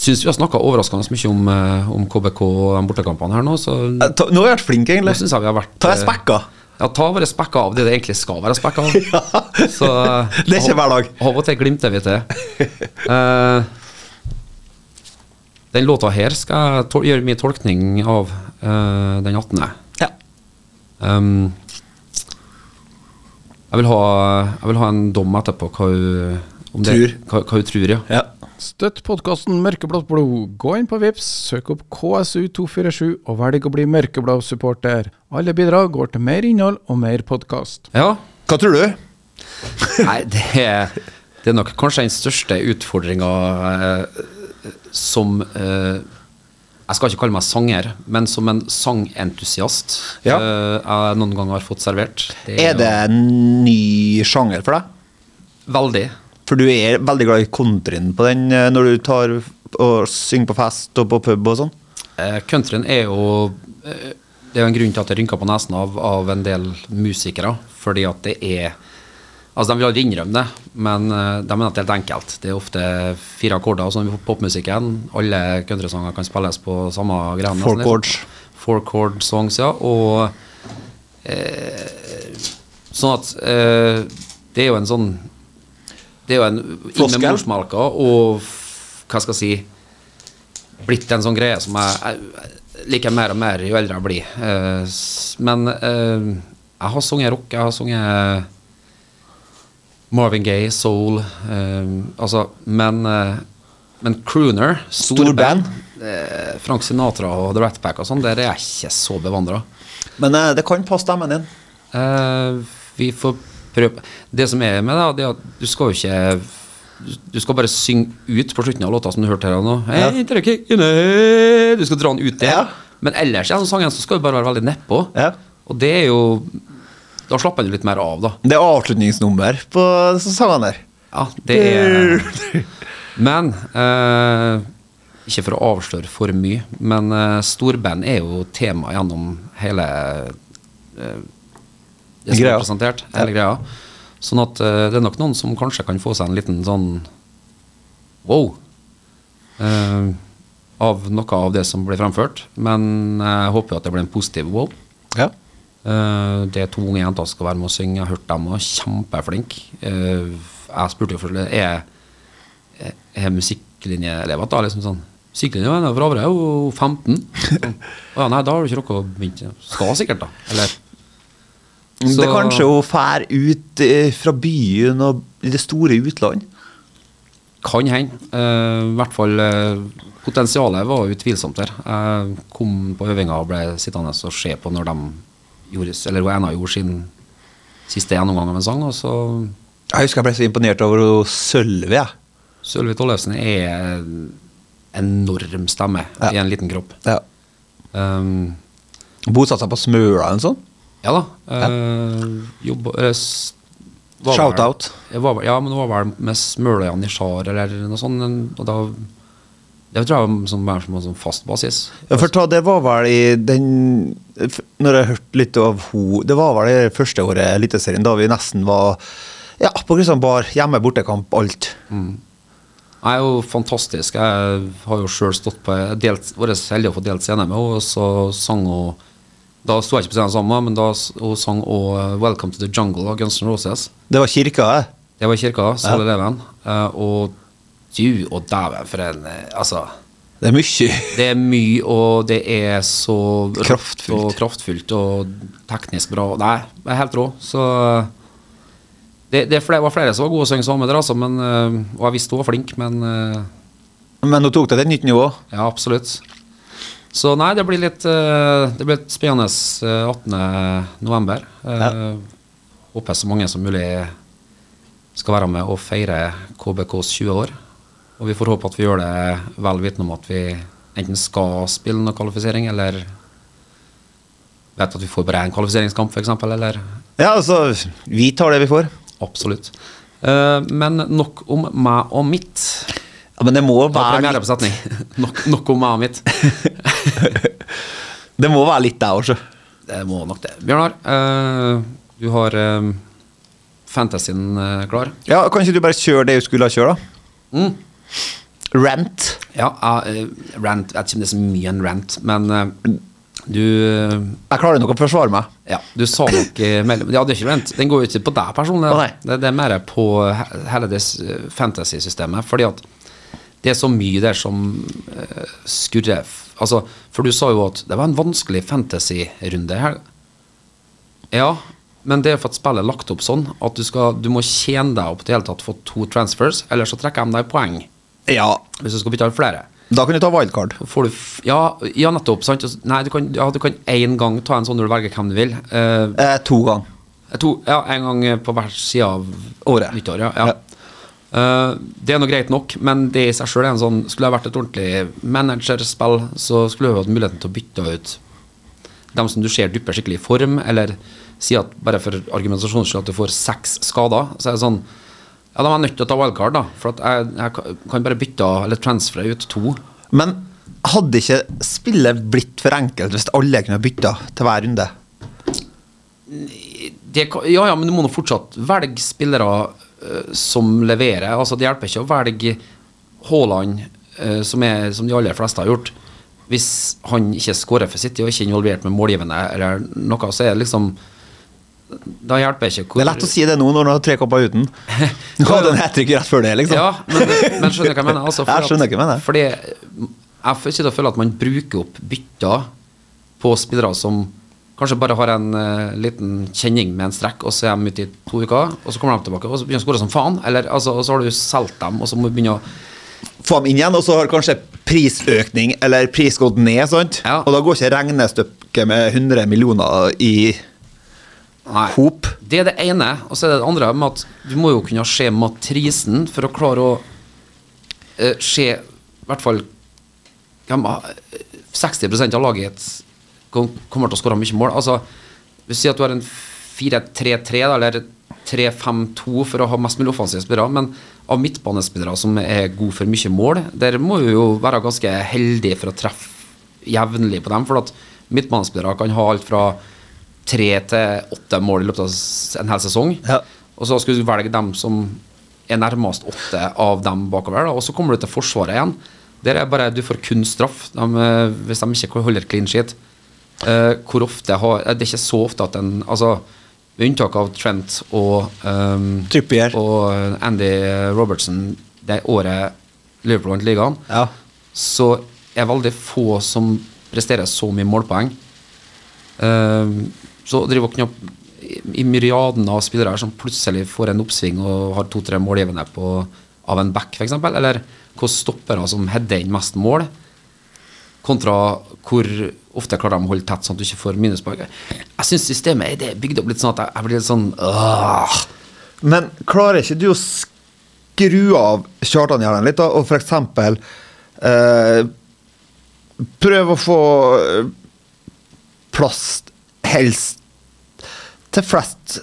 A: Syns vi har snakka overraskende mye om, eh, om KBK og de bortekampene her nå, så
E: Eh,
A: nå
E: ta- Nå har jeg vært flink, egentlig.
A: syns jeg vi har vært
E: Ta jeg
A: eh,
E: spekka?
A: Ja, ta våre spekka av det det egentlig skal være spekka av.
E: Ja.
A: Så, eh,
E: Det er ikke
A: av-
E: hver dag.
A: Av og til glimter vi til. Eh, den låta her skal jeg tol gjøre min tolkning av eh, den 18.
E: Ja.
A: Um, jeg, vil ha, jeg vil ha en dom etterpå hva hun om det- Hva, hva hun tror, ja.
E: ja.
D: Støtt podkasten Mørkeblått blod. Gå inn på Vips, søk opp KSU247 og velg å bli mørkeblå-supporter. Alle bidrag går til mer innhold og mer podkast.
A: ja.
E: Hva tror du?
A: Nei, det er, det er nok kanskje den største utfordringa eh, som eh, Jeg skal ikke kalle meg sanger, men som en sangentusiast
E: Ja.
A: eh, jeg noen gang har fått servert.
E: Er det en ny sjanger for deg?
A: jo Veldig.
E: For du er veldig glad i countryen på den eh, når du tar og synger på fest og på pub og sånn?
A: Eh, countryen er jo eh, Det er jo en grunn til at det rynker på nesen av, av en del musikere, fordi at det er Altså, De vil aldri innrømme det, men eh, de mener at det er helt enkelt. Det er ofte fire akkorder, sånn i popmusikken. Alle countrysanger kan spilles på samme greia. nesten,
E: Four
A: liksom.
E: chords.
A: Four chord songs, ja. Og eh, sånn at eh, Det er jo en sånn Det er jo en inn med
E: Floskel.
A: morsmelka og f- hva skal jeg si blitt en sånn greie som jeg, jeg liker mer og mer jo eldre jeg blir. Eh, s- men eh, jeg har sunget rock, jeg har sunget Marvin Gaye, soul eh, Altså, men eh, Men crooner, store
E: Stor band.
A: eh, Frank Sinatra og The Rat Pack og sånn, der er jeg ikke så bevandra.
E: Men eh, det kan passe stemmen din.
A: Eh, vi får prøve Det som er med det, det er at du skal jo ikke du- Du skal bare synge ut på slutten av låta som du hørte her nå.
E: Ja.
A: Hey, dere kickene. Du skal dra den ut der.
E: Ja.
A: Men ellers i den sangen så skal du bare være veldig nedpå.
E: Ja.
A: Og det er jo Da slapper du litt mer av, da.
E: Det er avslutningsnummer på disse sangene der.
A: Ja, det er Men eh, Ikke for å avsløre for mye, men eh, storband er jo tema gjennom hele eh, Det som
E: Greia.
A: er presentert. Hele greia. Sånn at eh, det er nok noen som kanskje kan få seg en liten sånn wow. eh, eh, av noe av det som blir fremført. Men jeg håper jo at det blir en positiv wow.
E: Ja.
A: Eh, det er to unge jenter som skal være med og synge. Jeg har hørt dem og er kjempeflinke. Eh, jeg spurte jo først er, er, er musikklinjeelever da, liksom sånn. Musikklinjeelever for Avre er jo 15. Sånn. Å ja, nei, da har du ikke rukket å begynne. Skal sikkert, da. Eller
E: Mm, Det er
A: Så-
E: kanskje hun fær ut eh, fra byen og i det store utland.
A: Kan hende. Eh, I hvert fall eh, potensialet var jo utvilsomt der. Jeg kom på øvinga og ble sittende og se på når de gjorde Eller hun ene gjorde sin siste gjennomgang av en sang, og så
E: Jeg husker jeg ble så imponert over hun Sølve. jeg.
A: Sølvi Tollefsen er en enorm stemme
E: Ja.
A: i en liten kropp.
E: Ja.
A: Um,
E: Bosatt seg på Smøla eller noe sånt.
A: ja da. Eh, jobb, eh, s- var vel-
E: Shout-out.
A: Jeg var vel- Ja, men hun var vel med Smøløya Nishar eller noe sånt. en- Og da Det tror jeg var som, mer som en sånn fast basis.
E: Ja, for ta, det var vel i den f- Når jeg hørte litt av ho Det var vel det første året i Eliteserien, da vi nesten var ja, på Kristian Bar, hjemme, bortekamp, alt.
A: Jeg er jo fantastisk. Jeg har jo sjøl stått på jeg delt, vært så heldig å få delt scene med henne, og så sang hun Da sto jeg ikke på scenen sammen, med henne, men da s- hun sang hun 'Welcome to the Jungle' av Guns N' Roses.
E: Det var kirka, eh? det.
A: Det var i kirka, Sale Leven. Eh, Og du og dæven, for en eh, Altså.
E: Det er mye.
A: Det er mye, og det er så rått
E: Kraftfullt.
A: Og kraftfullt og teknisk bra. Nei, jeg er helt rå. Så eh, det, det er flere, var flere som var gode til å synge sammen med dere, altså, men, eh, og jeg visste hun var flink, men eh,
E: Men hun tok det til et nytt nivå.
A: Ja, absolutt. Så nei, det blir litt, eh, det blir et spennende eh, 18. november. Eh, Håper så mange som mulig skal være med og feire KBKs 20 år. Og vi får håpe at vi gjør det vel vitende om at vi enten skal spille noe kvalifisering, eller vet at vi får bare én kvalifiseringskamp, f.eks., eller
E: Ja, altså, vi tar det vi får.
A: Absolutt. Eh, men nok om meg og mitt.
E: Ja, men det må
A: Det var
E: være
A: premiere
E: litt,
A: på setning. Nok, nok om meg og mitt.
E: det må være litt deg også.
A: Det må nok det. Bjørnar, eh, du har eh, fantasyen eh, klar.
E: Ja, kan ikke du bare kjøre det du skulle ha kjørt, da?
A: Mm.
E: Rant.
A: Ja, eh, rant. Jeg vet ikke om det er så mye en rant, men eh, du eh,
E: Jeg klarer nok å forsvare meg.
A: ja, du sa nok eh, mellom Ja, det er ikke rant. Den går jo ikke på deg personlig.
E: Å, nei.
A: det, det er mer på he- hele det s- fantasy-systemet. Fordi at det er så mye der som eh, skurrer. F- Altså, for du sa jo at det var en vanskelig fantasy-runde her. Ja, men det er for at spillet er lagt opp sånn at du, skal, du må tjene deg opp til i hele tatt for to transfers, eller så trekker de deg poeng
E: Ja,
A: hvis du skal bytte av flere.
E: da kan du ta wildcard.
A: Får du f ja, ja, nettopp. Sant? Og s- Nei, du kan, ja, du kan én gang ta en sånn når du velger hvem du vil. Eh,
E: Eh, to ganger.
A: to, ja, en gang på hver side av
E: Året.
A: nyttår. Ja, ja. Eh, det er nå greit nok, men det i seg sjøl er en sånn Skulle jeg vært et ordentlig managerspill, så skulle jeg jo hatt muligheten til å bytte ut dem som du ser dupper skikkelig i form, eller si at bare for argumentasjonens skyld at du får seks skader, så er det sånn Ja, da er jeg nødt til å ta wildcard, da, for at jeg, jeg ka- kan bare bytte eller transfere ut to.
E: Men hadde ikke spillet blitt for enkelt hvis alle kunne bytta til hver runde?
A: det, kan- ja, ja, men du må nå fortsatt velge spillere eh, som leverer. Altså, det hjelper ikke å velge Haaland, eh, som, er, som de aller fleste har gjort, hvis han ikke skårer for City og ikke er involvert med målgivende eller noe. Så er det liksom Da hjelper ikke hvor
E: Det er lett å si det nå når du har tre kamper uten. Du hadde en hat trick rett før det, liksom.
A: Ja, men, men skjønner du hva jeg mener? Altså,
E: Jeg skjønner hva jeg mener.
A: Fordi jeg får sitte og føle at man bruker opp bytter på spillere som kanskje bare har en eh, liten kjenning med en strekk, og så er de ute i to uker, og så kommer de tilbake og så begynner de å skåre som faen. Eller, altså, og så har du solgt dem, og så må du begynne å
E: Få dem inn igjen, og så har kanskje prisøkning eller pris gått ned, sant?
A: Ja.
E: Og da går ikke regnestykket med 100 millioner i
A: Nei.
E: hop.
A: Det er det ene. Og så er det det andre med at du må jo kunne se matrisen for å klare å eh, se i hvert fall hvem av- 60 av laget ditt kom- kommer til å skåre mye mål. Altså, hvis du sier at du har en 4-3-3 da, eller 3-5-2 for å ha mest mulig offensive spillere, men av midtbanespillere som er gode for mye mål, der må du jo være ganske heldig for å treffe jevnlig på dem. For at midtbanespillere kan ha alt fra tre til åtte mål i løpet av s- en hel sesong.
E: Ja.
A: Og så skulle du velge dem som er nærmest åtte av dem bakover. Da. Og så kommer du til Forsvaret igjen. Der er bare du får kun straff dem, eh, hvis de ikke holder clean sheet. Eh, hvor ofte jeg har eh, Det er ikke så ofte at en Altså, med unntak av Trent og ehm,
E: Trippier.
A: Og eh, Andy Robertson det året Liverpool vant ligaen,
E: Ja.
A: så er veldig få som presterer så mye målpoeng. Ehm, så driver og knapp i- i myriaden av spillere her som plutselig får en oppsving og har to-tre målgivende på, av en back, f.eks., eller hvor stoppere som header inn mest mål, kontra hvor ofte klarer de å holde tett sånn at du ikke får minuspoeng. Jeg syns systemet er- det er bygd opp litt sånn at jeg, jeg blir litt sånn «Åh!»
E: Men klarer ikke du å skru av Kjartan-hjernen litt, da, og for eksempel eh, Prøv å få eh, plass, helst, til flest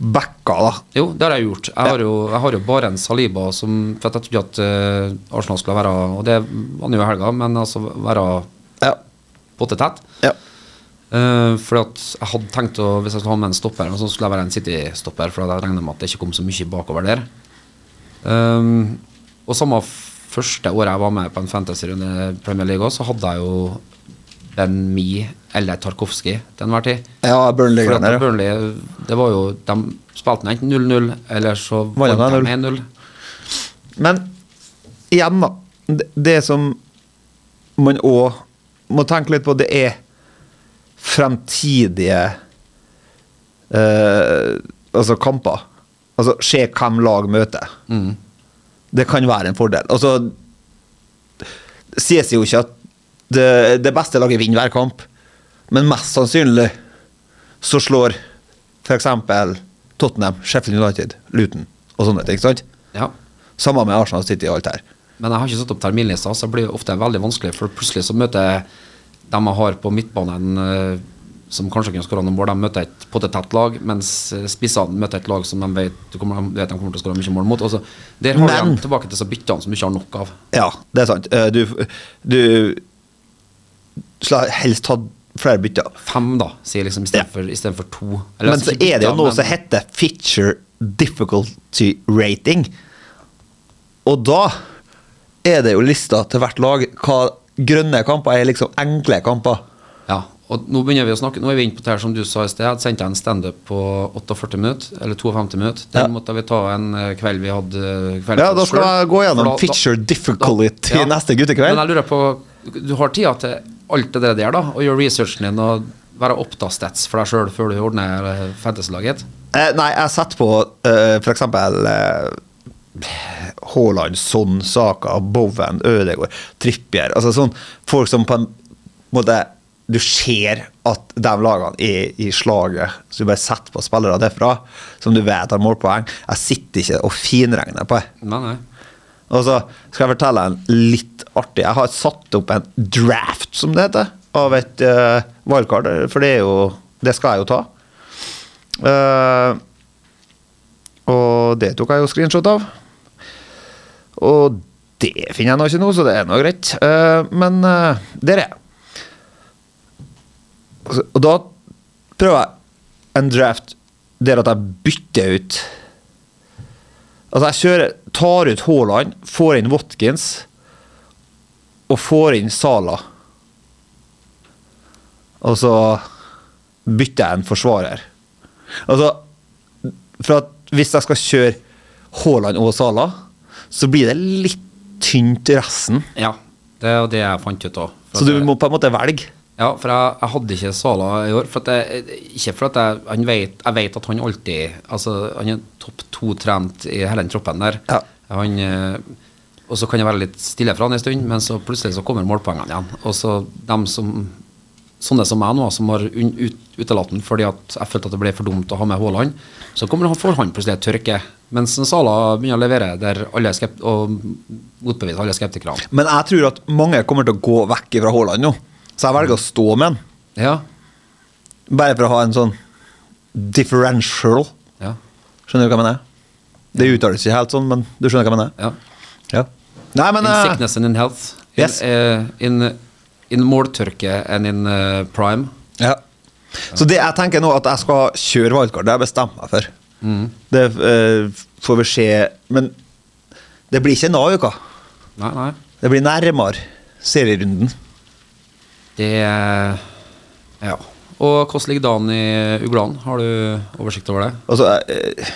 E: backer, da.
A: Jo, det har jeg gjort. Jeg har jo, jeg har jo bare en Saliba som For at jeg trodde at eh, Arsenal skulle være Og det var han jo i helga, men altså være
E: Ja.
A: pottetett.
E: ja.
A: Uh, fordi at jeg hadde tenkt å Hvis jeg skulle ha med en stopper, så skulle jeg være en City-stopper, for jeg regner med at det ikke kom så mye bakover der. Um, og samme første året jeg var med på en fantasy-runde i Premier League også, så hadde jeg jo Ben Mi eller Tarkovskij til enhver tid.
E: ja
A: For at
E: Burnley-greiene.
A: Burnley, det var jo, de spilte enten 0-0, eller så
E: Vant
A: vant de
E: de
A: 1-0.
E: Men igjen, da. det- Det som man òg må tenke litt på, det er fremtidige eh, altså kamper. Altså se hvem lag møter. Det kan være en fordel. Altså Det sies jo ikke at det, det beste laget vinner hver kamp, men mest sannsynlig så slår f.eks. Tottenham, Sheffield United, Luton og sånne ting. ikke sant?
A: Ja.
E: Samme med Arsenal City og alt her.
A: Men jeg har ikke satt opp terminlista, så det blir ofte veldig vanskelig, for plutselig så møter jeg dem jeg har på midtbanen, eh, som kanskje kunne skåra noen mål, de møter et pottetett lag, mens eh, spissene møter et lag som de vet, du kommer, de vet de kommer til å skåre mye mål mot. Og så, der har
E: Men-
A: de tilbake til disse byttene som du ikke har nok av.
E: Ja, det er sant. Eh, Du, du skulle helst hatt flere bytter.
A: Fem, da, sier liksom
E: Ja.
A: istedenfor ja. for to. Eller,
E: Men
A: altså,
E: så
A: ikke
E: er det jo
A: bytter,
E: noe
A: men-
E: som heter feature difficulty rating. Og da er det jo lista til hvert lag hva grønne kamper er liksom enkle kamper.
A: Ja, og nå begynner vi å snakke Nå er vi inne på det her som du sa i sted. Jeg sendte en standup på 48 minutter, eller 52 minutter. Den
E: Ja.
A: måtte vi ta en eh, kveld vi hadde eh, kveld
E: Ja,
A: for
E: da
A: oss
E: skal
A: selv.
E: jeg gå gjennom
A: For da- da-
E: feature difficulty neste guttekveld.
A: Men jeg lurer på Du har tida til alt det der, da? Å gjøre researchen din og være opptatt av stats for deg sjøl før du ordner eh, fantasy-laget?
E: Eh, nei, jeg setter på eh, for eksempel eh, Haaland, Son, Saka, Bowen, Ødegaard, Trippier. Altså sånn folk som på en måte Du ser at de lagene er i slaget, så du bare setter på spillere derfra som du vet har målpoeng. Jeg sitter ikke og finregner på det.
A: Nei, nei.
E: Og så skal jeg fortelle en litt artig Jeg har satt opp en draft, som det heter, av et uh, wildcard, for det er jo Det skal jeg jo ta. Eh, og det tok jeg jo screenshot av. Og det finner jeg nå ikke nå, så det er nå greit. Eh, men eh, der er jeg. Altså, Og da prøver jeg en draft der at jeg bytter ut Altså, jeg kjører, tar ut Haaland, får inn Watkins og får inn Sala. Og så bytter jeg en forsvarer. Altså, for at hvis jeg skal kjøre Haaland og Sala, så blir det litt tynt resten.
A: Ja. Det er jo det jeg fant ut òg.
E: Så du må på en måte velge.
A: Ja, for jeg, jeg hadde ikke Sala i år. For at jeg, ikke for at jeg, han vet, jeg vet at han alltid Altså, han er topp to trent i hele den troppen der.
E: Ja.
A: Han, eh, og så kan jeg være litt stille fra han en stund, men så plutselig så kommer målpoengene igjen. Og så dem som Sånne som meg nå, som har un, ut, utelatt han fordi at jeg følte at det ble for dumt å ha med Haaland, så kommer han får han plutselig et tørke. Mens en Sala begynner å levere der alle er skept, og motbevise alle skeptikerne.
E: Men jeg tror at mange kommer til å gå vekk fra Haaland nå, så jeg velger å stå med han.
A: Ja,
E: Bare for å ha en sånn differential.
A: ja,
E: Skjønner du hva jeg mener? Det uttales ikke helt sånn, men du skjønner hva jeg mener?
A: ja.
E: Ja. Nei, men
A: In
E: eh,
A: sickness and in health. In,
E: Yes.
A: eh, in, in måltørke and in eh, prime.
E: ja. Så det jeg tenker nå, at jeg skal kjøre wildcard, det har jeg bestemt meg for.
A: Mm.
E: Det eh, får vi se Men det blir ikke en av uka.
A: Nei, nei.
E: Det blir nærmere serierunden.
A: Det er Ja. Og hvordan ligger dagen i Uglan? Har du oversikt over det?
E: Altså, eh,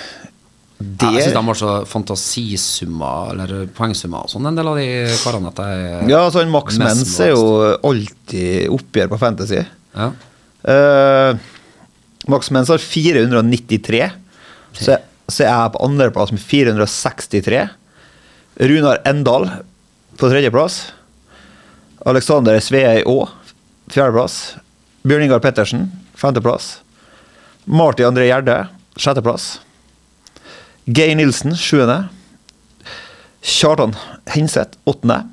A: Ja, Jeg
E: det
A: syns de har så fantasisummer, eller poengsummer og sånn, en del av de karene at jeg
E: Ja, altså, en Max
A: Mest
E: Mens er jo alltid oppgjør på Fantasy.
A: Ja.
E: Eh, Max Mens har 493. Så, så er jeg på andreplass med 463. Runar Endal på tredjeplass. Alexander Sveøy Aa, fjerdeplass. Bjørn Ingar Pettersen, femteplass. Marti André Gjerde, sjetteplass. Geir Nilsen, sjuende. Kjartan Henseth, åttende.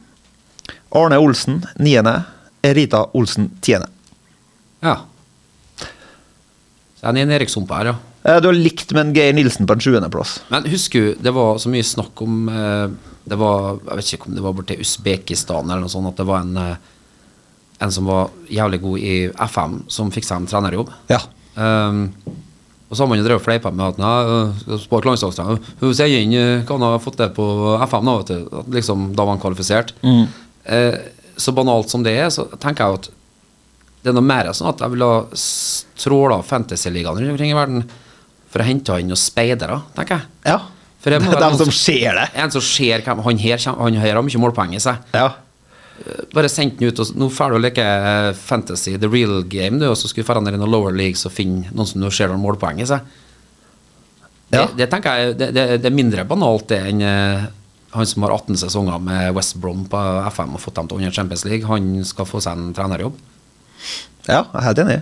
E: Arne Olsen, niende. Rita Olsen, tiende.
A: ja. Så jeg er i en Erikssump her, ja.
E: Eh, Du har likt med en Geir Nilsen på en sjuendeplass.
A: Men husker du, det var så mye snakk om eh, Det var, jeg vet ikke om det var borti Usbekistan eller noe sånt, at det var en eh, En som var jævlig god i FM, som fikk seg en trenerjobb.
E: Ja.
A: Ehm, og så har man jo drevet og fleipa med at Nei, øh, spart landslagstrener Hun sier inn øh, hva han har fått til på FM nå, vet du. At liksom, da var han kvalifisert.
E: Mm.
A: Eh, så banalt som det er, så tenker jeg jo at det er noe mer sånn at jeg ville ha stråla fantasyligaen rundt omkring i verden for å hente inn noen speidere, tenker jeg.
E: ja.
A: For jeg må
E: det er
A: være
E: dem
A: noen
E: som ser det.
A: En som ser hvem Han her, kjem- han her har mye målpoeng i seg.
E: Ja.
A: Bare send den ut, og s- nå får du å leke eh, fantasy, the real game, du, og så skal du dra ned i noen lower leagues og finne noen som du ser har målpoeng i seg. Det,
E: Ja.
A: det tenker jeg, det, det, det er mindre banalt det enn eh, han som har 18 sesonger med West Brom på FM og fått dem til å vinne Champions League. Han skal få seg en trenerjobb.
E: ja, jeg er helt enig.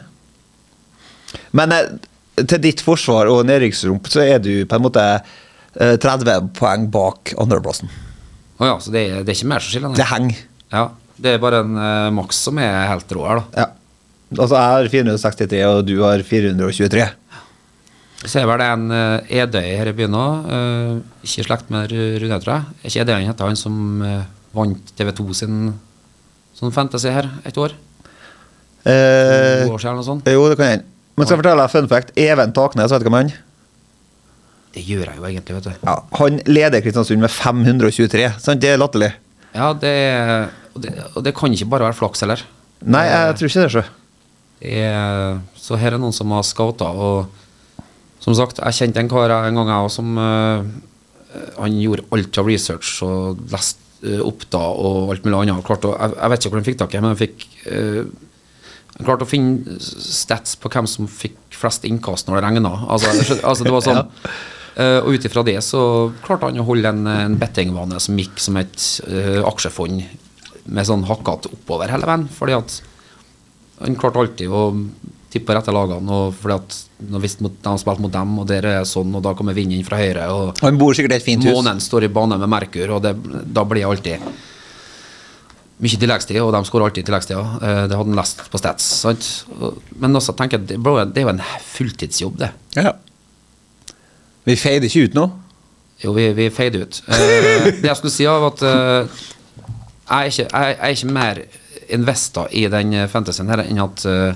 E: Men eh, til ditt forsvar og nedrykksrump så er du på en måte eh, 30 poeng bak andreplassen.
A: Å ja, så det, er- det er ikke mer som skiller? nei.
E: Det henger.
A: Ja, det er bare en eh, Max som er helt rå her, da.
E: Ja. Altså, jeg har 463, og du har 423.
A: Så er vel det en eh, Edøy her i byen òg. Ikke i slekt med Ru- Rune, tror jeg. Er ikke Edøy han heter, han som eh, vant TV2 sin sånn fantasy her et år?
E: Eh,
A: To år siden eller noe sånt.
E: jo, det kan hende. Men skal jeg fortelle deg fun fact. Even Taknes, vet du hvem han er?
A: Det gjør jeg jo egentlig, vet du.
E: Ja, han leder Kristiansund med 523. Sant? Det er latterlig.
A: Ja, det, er- og det, og det kan ikke bare være flaks heller.
E: Nei, jeg tror ikke det, sjø.
A: Det er, så her er noen som har scouta, og som sagt, jeg kjente en kar en gang jeg også som eh, Han gjorde alt av research og leste eh, opp da og alt mulig annet. og Klart, å- jeg, jeg vet ikke hvor han fikk tak i, men han fikk eh, han klarte å finne stats på hvem som fikk flest innkast når det regna. Altså, jeg skjønner- altså, det var sånn. Eh, og ut ifra det så klarte han å holde en, en bettingvane som gikk som et eh, aksjefond med sånn hakkete oppover hele veien. Fordi at han klarte alltid å tippe rette lagene. Og fordi at når visste mot, de spilte mot dem, og der er sånn, og da kommer vinden fra høyre. Og
E: Han bor sikkert i et fint hus.
A: månen står i bane med Merkur, og det, da blir det alltid mye tilleggstid, og de skårer alltid i tilleggstida. Eh, Det hadde han lest på Stats. Sant? Og- Men også tenker jeg, det- bro, det er jo en fulltidsjobb, det.
E: Ja. Vi feider ikke ut nå.
A: Jo, vi, vi feide ut. Eh, det jeg skulle si, var at eh, jeg, er ikke, jeg, jeg er ikke mer investor i den eh, fantasyen her enn at eh,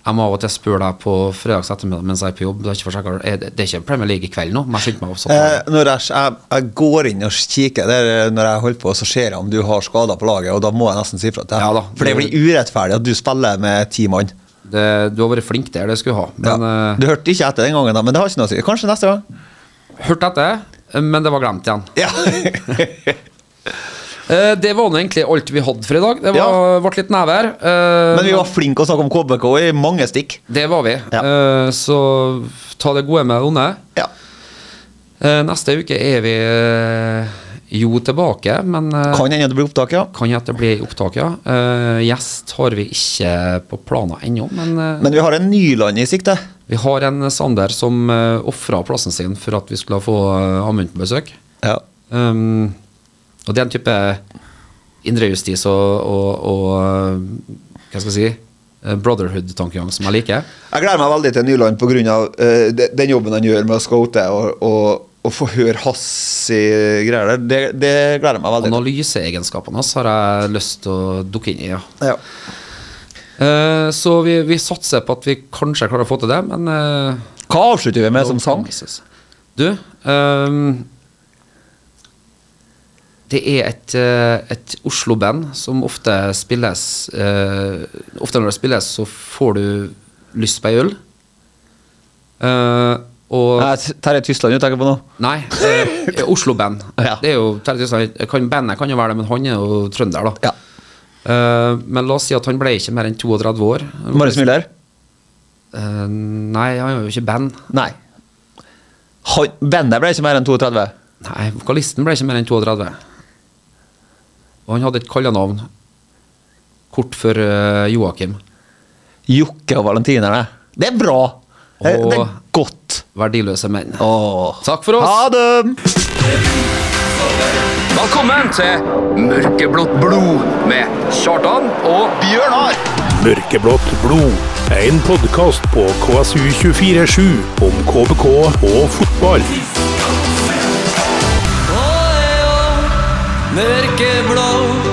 A: jeg må av og til spørre deg på fredags ettermiddag mens jeg er på jobb. Det er ikke, for sikkert- er det- det er ikke Premier League i kveld nå, men jeg skyndte meg opp.
E: Eh,
A: sånn.
E: når jeg, jeg, jeg går inn og kikker der, eh, når jeg holder på, så ser jeg om du har skader på laget, og da må jeg nesten si fra til deg.
A: Ja da.
E: For det blir urettferdig at du spiller med ti mann.
A: Det, du har vært flink der, det skulle du ha.
E: Ja.
A: Men eh,
E: Du hørte ikke etter den gangen, da, men det har ikke noe å si. Kanskje neste gang.
A: hørt etter, men det var glemt igjen.
E: Ja.
A: Eh, det var nå egentlig alt vi hadde for i dag. Det var,
E: Ja.
A: ble litt nevær. eh,
E: men vi var flinke å snakke om KBK i mange stikk.
A: Det var vi.
E: Ja.
A: Eh, så ta det gode med det onde.
E: Ja.
A: Eh, Neste uke er vi eh, jo tilbake, men eh,
E: Kan hende det blir opptak, ja.
A: kan hende det blir opptak, ja. Eh, Gjest har vi ikke på planer ennå, men, eh,
E: Men vi har en Nyland i sikte.
A: vi har en Sander som uh, ofra plassen sin for at vi skulle få eh, Amund på besøk.
E: Ja.
A: Um, og det er en type indrejustis og, og, og eh, Hva skal jeg si? eh, Brotherhood-tankegang som jeg liker.
E: Jeg gleder meg veldig til Nyland pga. Uh, den jobben han gjør med å scoute og, og, og få høre hans eh, greier der. Det, det gleder jeg meg veldig til.
A: Analyseegenskapene hans har jeg lyst til å dukke inn i, ja.
E: Ja.
A: Eh, Så vi, vi satser på at vi kanskje klarer å få til det, men eh,
E: Hva avslutter vi med som sang?
A: Du ehm, det er et, eh, et Oslo-band som ofte spilles eh, Ofte når det spilles, så får du lyst på ei øl. Eh, og
E: Nei, Terje Tysland du tenker på nå?
A: Nei, eh, Oslo-band.
E: Ja.
A: Det er jo Terje Tysland. Kan, bandet kan jo være det, men han er jo trønder, da.
E: Ja.
A: Eh, men la oss si at han ble ikke mer enn 32 år.
E: Marius Müller?
A: Eh, nei, han har jo ikke band.
E: Nei. Han, bandet ble ikke mer enn 32.
A: Nei, vokalisten ble ikke mer enn 32. Og han hadde et kallenavn kort før eh, Joakim.
E: Jokke og valentinerne. Det er bra! Det, det er
A: Åh.
E: godt.
A: Verdiløse menn.
E: Åh.
A: Takk for oss.
E: Ha det!
A: Velkommen til Mørkeblått blod med Kjartan og Bjørnar.
C: Mørkeblått blod er en podkast på KSU247 om KBK og fotball.
F: Mørkeblå